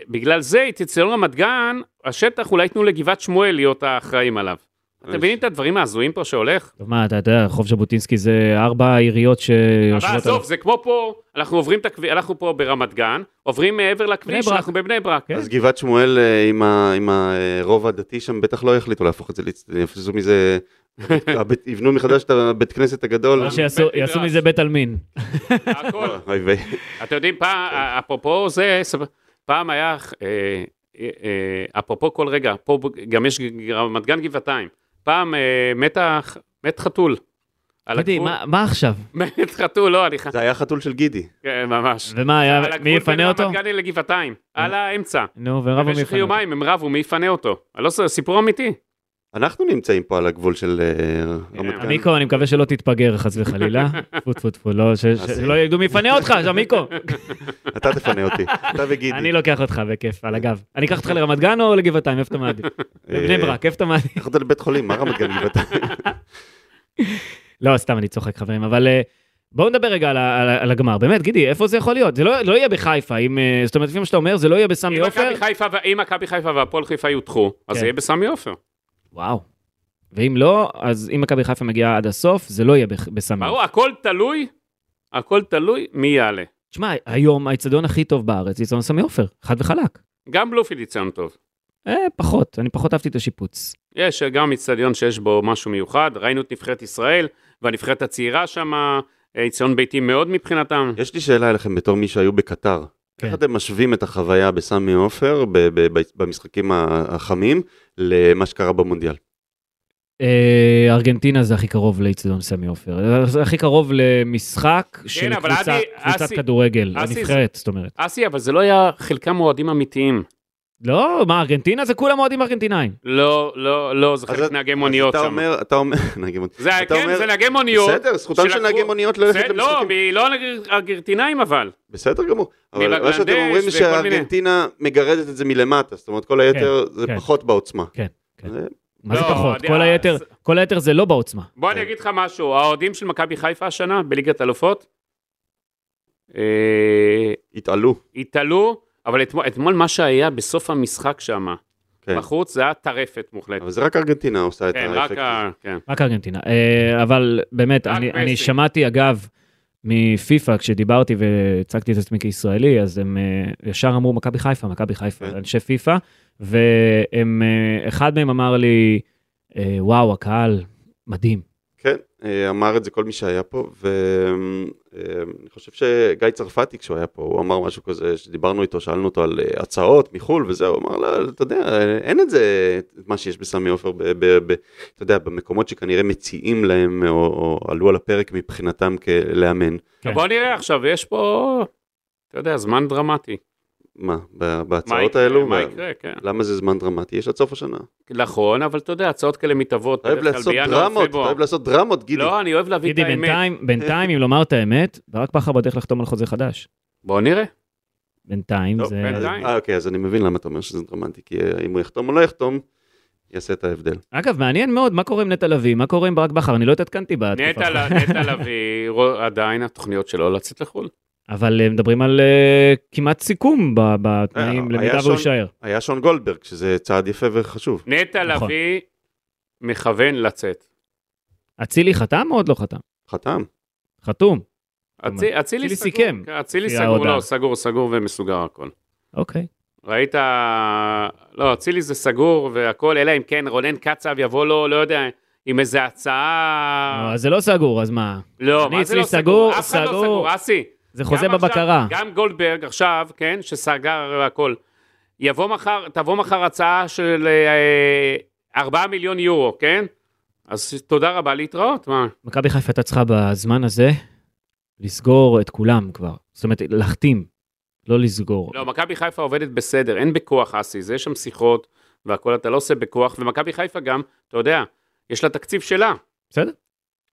Speaker 3: שבגלל זה את אצטדיון רמת גן, השטח אולי ייתנו לגבעת שמואל להיות האחראים עליו. אתם מבינים את הדברים ההזויים פה שהולך?
Speaker 2: טוב, מה, אתה אתה יודע, רחוב ז'בוטינסקי זה ארבע עיריות
Speaker 3: אבל
Speaker 2: שיושבות...
Speaker 3: עזוב, זה כמו פה, אנחנו עוברים את הכביש, אנחנו פה ברמת גן, עוברים מעבר לכביש,
Speaker 2: ברק.
Speaker 3: אנחנו בבני ברק.
Speaker 2: כן.
Speaker 4: אז גבעת שמואל אה, עם ה- עם הרוב הדתי שם בטח לא יחליטו להפוך את זה לאצטדיון, יפסו מזה, הבית- יבנו מחדש את הבית כנסת הגדול.
Speaker 2: או שיעשו
Speaker 3: בית
Speaker 2: יעשו
Speaker 3: מדרש.
Speaker 2: מזה בית עלמין.
Speaker 3: הכל.
Speaker 4: אוי ויי.
Speaker 3: אתם יודעים,
Speaker 2: כן.
Speaker 3: פעם, אה, אפרופו זה, סב- פעם היה, אה, אה, אה, אפרופו כל רגע, פה ב- גם יש ג- רמת גן גבעתיים, פעם אה, מתה ח- מת חתול. על
Speaker 2: תגידי,
Speaker 3: הגבול.
Speaker 2: מה- מה עכשיו?
Speaker 3: מת חתול, לא, אני חייב,
Speaker 4: זה היה חתול של גידי.
Speaker 3: כן, ממש.
Speaker 2: ומה היה,
Speaker 3: על הגבול
Speaker 2: מי
Speaker 3: בין
Speaker 2: יפנה אותו?
Speaker 3: רמת גן לגבעתיים, על האמצע.
Speaker 2: נו, ורבו מי
Speaker 3: במשך
Speaker 2: יפנה אותו.
Speaker 3: יומיים הם רבו מי יפנה אותו. אני לא זה סיפור אמיתי.
Speaker 4: אנחנו נמצאים פה על הגבול של אה,
Speaker 3: כן.
Speaker 4: רמת גן.
Speaker 2: עמיקו, אני מקווה שלא תתפגר חס וחלילה. טפו טפו טפו, לא, ש- ש- שלא ידעו מי יפנה אותך, אז עמיקו.
Speaker 4: אתה תפנה אותי, אתה וגידי.
Speaker 2: אני לא- לוקח אותך בכיף, על הגב. אני אקח אותך לרמת גן או לגבעתיים, איפה אתה מעדיף? לבני ברק, איפה אתה מעדיף?
Speaker 4: איך אתה אה, לבית חולים, מה רמת גן גבעתיים?
Speaker 2: לא, סתם, אני צוחק, חברים, אבל אה, בואו נדבר רגע על ה- על ה- על הגמר. באמת, גידי, איפה זה יכול להיות? זה לא לא יהיה בחיפה, אם, אה, זאת אומרת, לפי מה שאתה אומר, זה לא יהיה בסמי
Speaker 3: אם
Speaker 2: עופר.
Speaker 3: מכבי חיפה ו- אם מכבי חיפה והפועל חיפה יודחו, אז
Speaker 2: כן.
Speaker 3: זה יהיה בסמי עופר.
Speaker 2: וואו. ואם לא, אז אם מכבי חיפה מגיעה עד הסוף, זה לא יהיה בח- בסמי עופר.
Speaker 3: ברור, הכל תלוי, הכל תלוי מי יעלה.
Speaker 2: תשמע, היום האיצטדיון הכי טוב בארץ זה איצטדיון סמי עופר, חד וחלק.
Speaker 3: גם בלומפילד יציין טוב.
Speaker 2: אה, פחות, אני פחות אהבתי את השיפוץ.
Speaker 3: יש גם אצטדיון שיש בו משהו מיוחד, ראינו את נבחרת ישראל והנבחרת הצעירה שם, אצטדיון ביתי מאוד מבחינתם.
Speaker 4: יש לי שאלה אליכם בתור מי שהיו בקטר.
Speaker 2: כן.
Speaker 4: איך אתם משווים את החוויה בסמי עופר ב- ב- ב- במשחקים ה- החמים למה שקרה במונדיאל?
Speaker 2: אה, ארגנטינה זה הכי קרוב לאיצטדיון סמי עופר. זה הכי קרוב למשחק של
Speaker 3: כן, אבל
Speaker 2: קבוצה-
Speaker 3: אבי-
Speaker 2: קבוצת
Speaker 3: אסי-
Speaker 2: כדורגל,
Speaker 3: אסי זה-
Speaker 2: הנבחרת, זאת אומרת.
Speaker 3: אסי, אבל זה לא היה חלקם אוהדים אמיתיים.
Speaker 2: לא, מה, ארגנטינה זה כולם אוהדים ארגנטינאים.
Speaker 3: לא, לא, לא, זה חלק נהגי מוניות
Speaker 4: אתה
Speaker 3: שם.
Speaker 4: אומר, אתה אומר, נהגי מוניות.
Speaker 3: זה היה-
Speaker 4: אתה
Speaker 3: כן,
Speaker 4: אומר-
Speaker 3: זה נהגי מוניות.
Speaker 4: בסדר, זכותם של
Speaker 3: שלקחו-
Speaker 4: נהגי מוניות ללכת
Speaker 3: בסדר, לא,
Speaker 4: למשחקים.
Speaker 3: מ- לא ארגנטינאים אבל.
Speaker 4: בסדר גמור. אבל מה
Speaker 3: מבנגלדש
Speaker 4: שאתם אומרים
Speaker 3: וכל
Speaker 4: שארגנטינה מגרדת את זה מלמטה, זאת אומרת כל היתר זה
Speaker 2: כן.
Speaker 4: פחות בעוצמה.
Speaker 2: כן, כן.
Speaker 4: זה-
Speaker 2: מה זה
Speaker 3: לא,
Speaker 2: פחות?
Speaker 3: אני-
Speaker 2: כל היתר-
Speaker 3: זה-
Speaker 2: כל היתר זה לא בעוצמה.
Speaker 3: בוא
Speaker 4: כן.
Speaker 3: אני אגיד לך משהו, האוהדים של מכבי חיפה השנה בליגת אלופות, אה,
Speaker 4: התעלו.
Speaker 3: התעלו, אבל אתמול, אתמול מה שהיה בסוף המשחק שם,
Speaker 4: כן.
Speaker 3: בחוץ, זה היה טרפת מוחלטת.
Speaker 4: אבל זה רק ארגנטינה עושה את
Speaker 3: כן, רק
Speaker 4: האפקט הזה.
Speaker 3: ה... כן.
Speaker 2: רק ארגנטינה. אה, אבל באמת,
Speaker 3: רק
Speaker 2: אני,
Speaker 3: מסי.
Speaker 2: אני שמעתי, אגב, מפיפ"א, כשדיברתי והצגתי את עצמי כישראלי, אז הם אה, ישר אמרו, מכבי חיפה, מכבי חיפה,
Speaker 4: כן.
Speaker 2: אנשי פיפ"א, והם, אה, אחד מהם אמר לי, אה, וואו, הקהל מדהים.
Speaker 4: כן, אה, אמר את זה כל מי שהיה פה, ואני חושב שגיא צרפתי כשהוא היה פה, הוא אמר משהו כזה, שדיברנו איתו, שאלנו אותו על אה, הצעות מחו"ל וזה, הוא אמר, לא, אתה יודע, אה, אין את זה, את מה שיש בסמי עופר, ב- ב- ב- אתה יודע, במקומות שכנראה מציעים להם, או, או עלו על הפרק מבחינתם כלאמן.
Speaker 2: כן.
Speaker 3: בוא נראה עכשיו, יש פה, אתה יודע, זמן דרמטי.
Speaker 4: מה, ב-
Speaker 3: מה
Speaker 4: בהצעות
Speaker 3: יקרה,
Speaker 4: האלו?
Speaker 3: מה
Speaker 4: ב-
Speaker 3: יקרה, כן.
Speaker 4: למה זה זמן דרמטי? יש עד סוף השנה.
Speaker 3: נכון, אבל אתה יודע, הצעות כאלה מתהוות.
Speaker 4: אתה אוהב
Speaker 3: בדרך כלל
Speaker 4: לעשות
Speaker 3: בינואר,
Speaker 4: דרמות, אתה
Speaker 3: פברואר.
Speaker 4: אוהב לעשות דרמות, גידי.
Speaker 3: לא, אני אוהב להביא את
Speaker 2: גידי,
Speaker 3: האמת.
Speaker 2: בינתיים, בינתיים, אם לומר את האמת, ברק בכר בדרך לחתום על חוזה חדש.
Speaker 3: בוא נראה.
Speaker 2: בינתיים
Speaker 4: טוב,
Speaker 2: זה...
Speaker 4: אז-
Speaker 3: לא, בינתיים.
Speaker 4: אה, אוקיי, אז אני מבין למה אתה אומר שזה דרמטי, כי אה, אם הוא יחתום או לא יחתום, יעשה את ההבדל.
Speaker 2: אגב, מעניין מאוד, מה קורה עם נטע לביא? מה קורה עם ברק בכר? אני לא התעדכנתי בתקופה.
Speaker 3: נטע
Speaker 2: האחרונה.
Speaker 3: ל- נטע לביא, רוא- עדיין התוכניות שלו לצאת לחו"ל.
Speaker 2: אבל אה, מדברים על אה, כמעט סיכום ב-
Speaker 3: אה,
Speaker 2: בתנאים,
Speaker 4: היה
Speaker 2: למידה
Speaker 4: שון-
Speaker 2: והוא יישאר.
Speaker 4: היה שון גולדברג, שזה צעד יפה וחשוב.
Speaker 3: נטע
Speaker 2: נכון.
Speaker 3: לביא מכוון לצאת.
Speaker 2: אצילי חתם או עוד לא חתם?
Speaker 4: חתם.
Speaker 2: חתום.
Speaker 3: אצי-
Speaker 2: אומרת,
Speaker 3: אצילי
Speaker 2: אצילי
Speaker 3: סגור,
Speaker 2: סיכם,
Speaker 3: כן, אצילי
Speaker 2: לפי
Speaker 3: סגור,
Speaker 2: ההודעה.
Speaker 3: לא, סגור, סגור ומסוגר הכל.
Speaker 2: אוקיי.
Speaker 3: ראית, לא, אצילי זה סגור והכל, אלא אם כן רונן קצב יבוא לו, לא יודע, עם איזה הצעה,
Speaker 2: אה, אז זה לא סגור, אז מה?
Speaker 3: לא,
Speaker 2: אני
Speaker 3: מה זה
Speaker 2: אצלי
Speaker 3: לא סגור,
Speaker 2: סגור,
Speaker 3: אף אחד לא
Speaker 2: סגור.
Speaker 3: סגור, אסי.
Speaker 2: זה חוזה
Speaker 3: גם עכשיו-
Speaker 2: בבקרה.
Speaker 3: גם גולדברג עכשיו, כן, שסגר הכל. יבוא מחר, תבוא מחר הצעה של אה, 4 מיליון יורו, כן? אז תודה רבה, להתראות, מה?
Speaker 2: מכבי חיפה הייתה צריכה בזמן הזה לסגור את כולם כבר. זאת אומרת, להחתים, לא לסגור.
Speaker 3: לא, מכבי חיפה עובדת בסדר, אין בכוח אסי, זה יש שם שיחות והכל אתה לא עושה בכוח, ומכבי חיפה גם, אתה יודע, יש לה תקציב שלה.
Speaker 2: בסדר.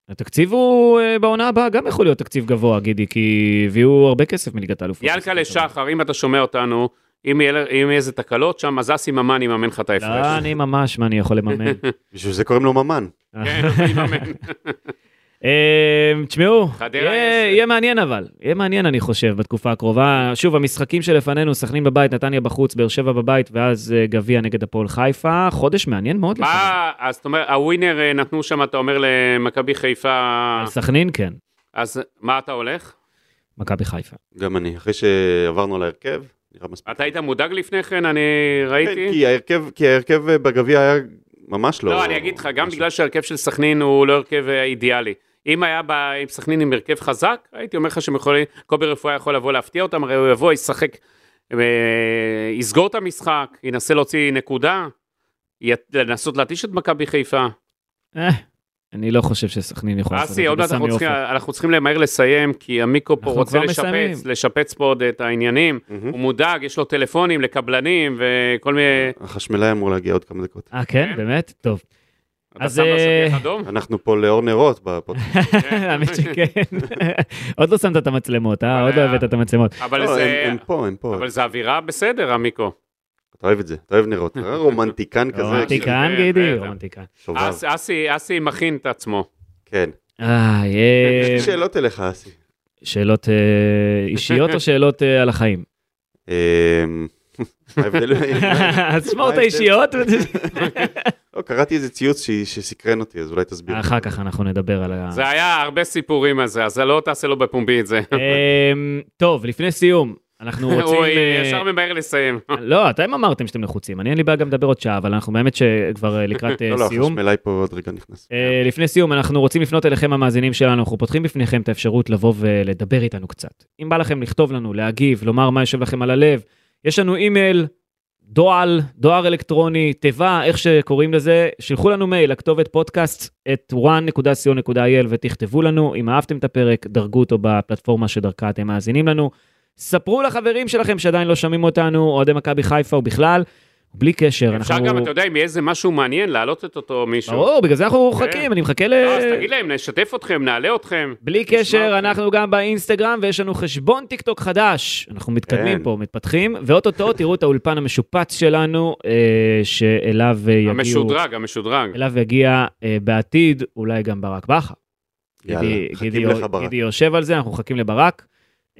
Speaker 2: התקציב הוא אה, בעונה הבאה גם יכול להיות תקציב גבוה, גידי, כי הביאו הרבה כסף מליגת האלופות.
Speaker 3: ינקלה שחר, אם אתה שומע אותנו, אם יהיה אם יהיה איזה תקלות שם, אז אסי ממן יממן לך את ההפרש.
Speaker 2: לא, אני ממש, מה אני יכול לממן?
Speaker 4: בשביל זה קוראים לו ממן.
Speaker 3: כן, הוא יממן.
Speaker 2: אמ, תשמעו,
Speaker 3: חדרה
Speaker 2: יהיה
Speaker 3: יש-
Speaker 2: יהיה מעניין אבל, יהיה מעניין אני חושב בתקופה הקרובה. שוב, המשחקים שלפנינו, סכנין בבית, נתניה בחוץ, באר שבע בבית, ואז אה, גביע נגד הפועל חיפה, חודש מעניין מאוד לפנינו.
Speaker 3: מה, אז אתה אומר, הווינר אה, נתנו שם, אתה אומר למכבי חיפה,
Speaker 2: על סכנין כן,
Speaker 3: אז מה אתה הולך?
Speaker 2: מכבי חיפה.
Speaker 4: גם אני, אחרי שעברנו להרכב, נראה מספיק.
Speaker 3: אתה היית מודאג לפני כן, אני
Speaker 4: כן,
Speaker 3: ראיתי?
Speaker 4: כי ההרכב, כי ההרכב אה, בגביע היה ממש לא...
Speaker 3: לא, אני אגיד לך, גם
Speaker 4: משהו.
Speaker 3: בגלל שההרכב של סכנין הוא לא הרכב אה, אידיאלי. אם היה ב... אם סכנין עם הרכב חזק, הייתי אומר לך שהם יכולים, קובי רפואה יכול לבוא להפתיע אותם, הרי הוא יבוא, ישחק, אה, יסגור את המשחק, ינסה להוציא נקודה, י- לנסות להתיש את מכבי חיפה.
Speaker 2: אה, אני לא חושב שסכנין יכולה לעשות את
Speaker 3: אסי,
Speaker 2: זה
Speaker 3: עוד מעט אנחנו
Speaker 2: בסמי
Speaker 3: צריכים,
Speaker 2: עופר.
Speaker 3: אנחנו צריכים למהר לסיים, כי המיקרו פה
Speaker 2: אנחנו
Speaker 3: רוצה
Speaker 2: כבר מסיימים.
Speaker 3: לשפץ, לשפץ פה עוד את העניינים.
Speaker 4: מהמם.
Speaker 3: הוא מודאג, יש לו טלפונים לקבלנים וכל מיני...
Speaker 4: החשמלאי אמור להגיע עוד כמה דקות.
Speaker 2: אה כן,
Speaker 3: כן.
Speaker 2: באמת? טוב.
Speaker 3: אתה
Speaker 2: אז,
Speaker 3: שם לו
Speaker 2: אה,
Speaker 3: שטיח אדום?
Speaker 4: אנחנו פה לאור נרות בפודקאסט.
Speaker 3: כן.
Speaker 2: האמת שכן. עוד לא שמת את המצלמות, אה? עוד לא הבאת את המצלמות.
Speaker 3: אבל
Speaker 4: לא,
Speaker 3: זה...
Speaker 4: הם הם פה, הם פה.
Speaker 3: אבל זה אווירה בסדר, המיקרו.
Speaker 4: אתה אוהב את זה, אתה אוהב נרות. אתה רומנטיקן כזה, כאילו,
Speaker 2: רומנטיקן
Speaker 3: כן,
Speaker 2: גידי,
Speaker 3: בטח.
Speaker 2: רומנטיקן.
Speaker 4: שובב.
Speaker 3: אס- אסי, אסי מכין את עצמו.
Speaker 4: כן.
Speaker 2: איי,
Speaker 4: יש
Speaker 2: אה,
Speaker 4: לי שאלות אליך, אסי.
Speaker 2: שאלות אה, אישיות או שאלות אה, על החיים?
Speaker 4: אמ, ההבדל...
Speaker 2: אז שמור את
Speaker 4: מה ההבדל?
Speaker 2: האישיות.
Speaker 4: לא, קראתי איזה ציוץ ש- שסקרן אותי, אז אולי תסביר.
Speaker 2: אחר כך אנחנו נדבר על ה...
Speaker 3: זה היה הרבה סיפורים על זה, אז לא תעשה לו בפומבי את זה.
Speaker 2: אמ, טוב, לפני סיום, אנחנו רוצים...
Speaker 3: הוא
Speaker 2: אה,
Speaker 3: ישר ממהר לסיים.
Speaker 2: לא, אתם אמרתם שאתם לחוצים, אני אין לי בעיה גם לדבר עוד שעה, אבל אנחנו באמת שכבר אה, לקראת אה,
Speaker 4: לא, לא,
Speaker 2: סיום.
Speaker 4: החשמלאי פה עוד רגע נכנס.
Speaker 2: אה, לפני סיום, אנחנו רוצים לפנות אליכם המאזינים שלנו, אנחנו פותחים בפניכם את האפשרות לבוא ולדבר איתנו קצת. אם בא לכם לכתוב לנו, להגיב, לומר מה יושב לכם על הלב, יש לנו אימייל, דואל, דואר אלקטרוני, תיבה, איך שקוראים לזה, שלחו לנו מייל לכתובת פודקאסט את one.co.il ותכתבו לנו. אם אהבתם את הפרק, דרגו אותו בפלטפורמה שדרכה אתם מאזינים לנו. ספרו לחברים שלכם שעדיין לא שומעים אותנו, אוהדי מכבי חיפה ובכלל, בלי קשר,
Speaker 3: אפשר גם, אתה יודע, אם יהיה איזה משהו מעניין, להעלות את אותו מישהו.
Speaker 2: ברור, בגלל זה אנחנו
Speaker 3: כן.
Speaker 2: מורחקים, אני מחכה ל...
Speaker 3: אה, אז תגיד להם, נשתף אתכם, נעלה אתכם.
Speaker 2: בלי
Speaker 3: נשמע
Speaker 4: אוקיי.
Speaker 2: קשר,
Speaker 3: אתכם.
Speaker 2: אנחנו גם באינסטגרם, ויש לנו חשבון טיק טוק חדש. אנחנו מתקדמים
Speaker 4: כן.
Speaker 2: פה, מתפתחים, ואו-טו-טו תראו את האולפן המשופץ שלנו, אה, שאליו אה, יגיעו...
Speaker 3: המשודרג, המשודרג.
Speaker 2: אליו יגיע אה, בעתיד, אולי גם ברק בכר.
Speaker 4: יאללה,
Speaker 2: גידי- גידי-
Speaker 4: מחכים לך ברק.
Speaker 2: גידי יושב על זה, אנחנו מחכים לברק.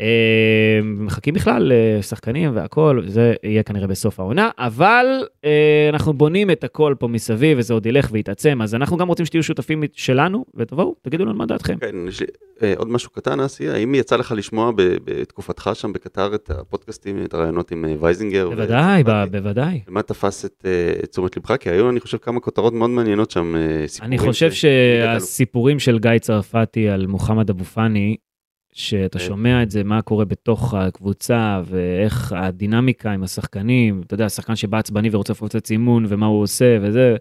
Speaker 2: אה, מחכים בכלל לשחקנים והכל, זה יהיה כנראה בסוף העונה, אבל אה, אנחנו בונים את הכל פה מסביב, וזה עוד ילך ויתעצם, אז אנחנו גם רוצים שתהיו שותפים שלנו, ותבואו, תגידו לנו מה דעתכם.
Speaker 4: כן, יש לי אה, עוד משהו קטן, אסי, האם יצא לך לשמוע ב- בתקופתך שם בקטר את הפודקאסטים, את הרעיונות עם אה, וייזינגר?
Speaker 2: בוודאי, ב-
Speaker 4: וצרפתי?
Speaker 2: בוודאי.
Speaker 4: מה תפס את אה, את תשומת לבך? כי היו, אני חושב, כמה כותרות מאוד מעניינות שם, אה, סיפורים.
Speaker 2: אני חושב
Speaker 4: ש- ליגת אלופות.
Speaker 2: שהסיפורים של גיא צרפתי על מוחמד אבו פאני, שאתה
Speaker 4: כן.
Speaker 2: שומע את זה, מה קורה בתוך הקבוצה, ואיך הדינמיקה עם השחקנים, אתה יודע, השחקן שבא עצבני ורוצה לפוצץ אימון, ומה הוא עושה, וזה,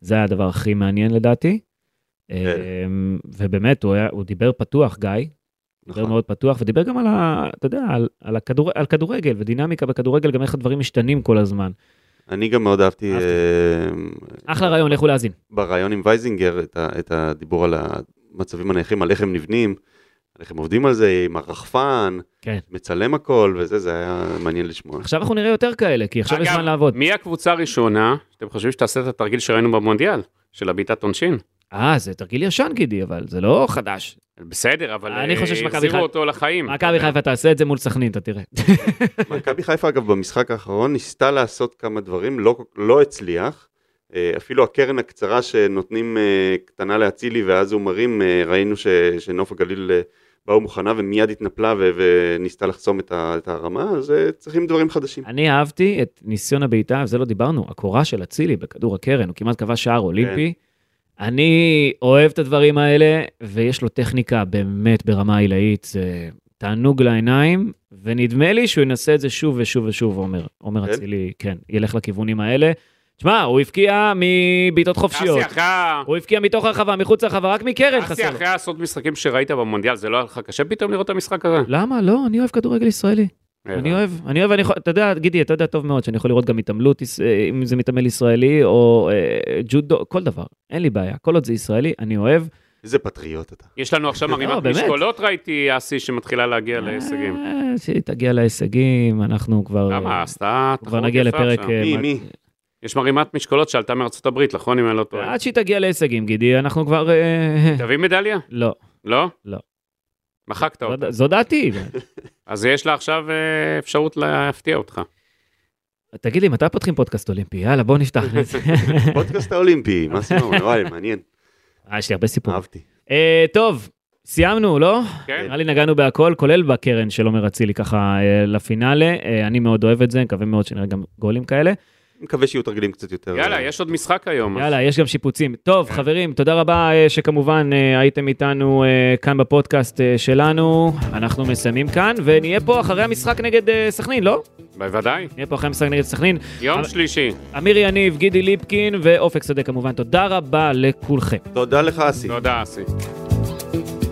Speaker 2: זה הדבר הכי מעניין לדעתי.
Speaker 4: כן.
Speaker 2: אמ, ובאמת, הוא, היה, הוא דיבר פתוח, גיא, דיבר
Speaker 4: נכון.
Speaker 2: מאוד פתוח, ודיבר גם על, ה, אתה יודע, על, על, הכדור, על כדורגל, ודינמיקה בכדורגל, גם איך הדברים משתנים כל הזמן.
Speaker 4: אני גם מאוד אהבתי
Speaker 2: אהבתי.
Speaker 4: אה,
Speaker 2: אחלה רעיון, לכו להאזין.
Speaker 4: ברעיון עם וייזינגר את, ה, את הדיבור על המצבים הנייחים, על איך הם נבנים, על איך הם עובדים על זה, עם הרחפן,
Speaker 2: כן.
Speaker 4: מצלם הכל וזה, זה היה מעניין לשמוע.
Speaker 2: עכשיו אנחנו נראה יותר כאלה, כי עכשיו יש
Speaker 3: אגב,
Speaker 2: זמן לעבוד.
Speaker 3: מי הקבוצה הראשונה שאתם חושבים שתעשה את התרגיל שראינו במונדיאל, של הבעיטת עונשין?
Speaker 2: אה, זה תרגיל ישן, גידי, אבל זה לא חדש.
Speaker 3: בסדר, אבל
Speaker 2: אני
Speaker 3: אה,
Speaker 2: חושב שמכבי
Speaker 3: החזירו
Speaker 2: חיפה-
Speaker 3: אותו לחיים.
Speaker 2: מכבי חיפה תעשה את זה מול סכנין, אתה תראה.
Speaker 4: מכבי חיפה אגב במשחק האחרון ניסתה לעשות כמה דברים, לא, לא הצליח. אה, אפילו הקרן הקצרה שנותנים אה, קטנה לאצילי ואז הוא מרים, אה, ראינו ש, שנוף הגליל אה, באו מוכנה ומיד התנפלה ו, וניסתה לחסום את, ה, את הרמה, אז אה, צריכים דברים חדשים.
Speaker 2: אני אהבתי את ניסיון הבעיטה, על זה לא דיברנו, הקורה של אצילי בכדור הקרן, הוא כמעט קבע שער אולימפי. אני אוהב את הדברים האלה, ויש לו טכניקה באמת ברמה עילאית, זה תענוג לעיניים, ונדמה לי שהוא ינסה את זה שוב ושוב ושוב, עומר. עומר
Speaker 4: כן?
Speaker 2: אצילי, כן, ילך לכיוונים האלה. תשמע, הוא הבקיע מבעיטות חופשיות.
Speaker 3: אסי, אחרי ה-
Speaker 2: הוא הבקיע מתוך הרחבה, מחוץ לרחבה, רק מקרן
Speaker 3: אסי,
Speaker 2: חסר לו.
Speaker 3: אחרי העשרות משחקים שראית במונדיאל, זה לא היה לך קשה פתאום לראות את המשחק הזה?
Speaker 2: למה? לא, אני אוהב כדורגל ישראלי. אני אוהב, אני אוהב, אני יכול, אתה יודע, גידי, אתה יודע טוב מאוד שאני יכול לראות גם התעמלות, יש- אה, אם זה מתעמל ישראלי או אה, ג'ודו, כל דבר, אין לי בעיה, כל עוד זה ישראלי, אני אוהב.
Speaker 4: איזה פטריוט אתה.
Speaker 3: יש לנו עכשיו מרימת
Speaker 2: לא, באמת.
Speaker 3: משקולות, ראיתי אסי, שמתחילה להגיע להישגים.
Speaker 2: אה, שהיא תגיע להישגים, אנחנו כבר... אה,
Speaker 3: למה, עשתה
Speaker 2: כבר
Speaker 3: תחרות
Speaker 2: נגיע
Speaker 3: יפה
Speaker 2: לפרק...
Speaker 3: עכשיו.
Speaker 2: אה,
Speaker 4: מי,
Speaker 2: מה-
Speaker 4: מי?
Speaker 3: יש מרימת משקולות שעלתה מארצות הברית, נכון, אם אני לא טועה?
Speaker 2: עד שהיא תגיע להישגים, גידי, אנחנו כבר... אה,
Speaker 3: תביא מדליה?
Speaker 2: לא,
Speaker 3: לא?
Speaker 2: לא.
Speaker 3: מחקת אותה.
Speaker 2: זו דעתי.
Speaker 3: אז יש לה עכשיו אה, אפשרות להפתיע אותך.
Speaker 2: תגיד לי, מתי פותחים פודקאסט אולימפי? יאללה, בוא נפתח את זה.
Speaker 4: פודקאסט האולימפי, מה סימן? וואי, מעניין,
Speaker 2: אה, יש לי הרבה סיפורים.
Speaker 4: אהבתי.
Speaker 2: אה, טוב, סיימנו, לא?
Speaker 3: כן?
Speaker 2: נראה לי נגענו בהכל, כולל בקרן של עומר אצילי ככה אה, לפינאלה. אה, אני מאוד אוהב את זה, מקווה מאוד שנראה גם גולים כאלה.
Speaker 4: מקווה שיהיו תרגילים קצת יותר...
Speaker 3: יאללה, יש עוד משחק היום.
Speaker 2: יאללה, יש גם שיפוצים. טוב, חברים, תודה רבה אה, שכמובן אה, הייתם איתנו אה, כאן בפודקאסט אה, שלנו. אנחנו מסיימים כאן, ונהיה פה אחרי המשחק נגד אה, סכנין, לא?
Speaker 3: בוודאי.
Speaker 2: נהיה פה אחרי המשחק נגד סכנין.
Speaker 3: יום
Speaker 2: אבל-
Speaker 3: שלישי.
Speaker 2: אמיר יניב, גידי ליפקין ואופק שדה כמובן. תודה רבה לכולכם.
Speaker 4: תודה לך, אסי.
Speaker 3: תודה, אסי.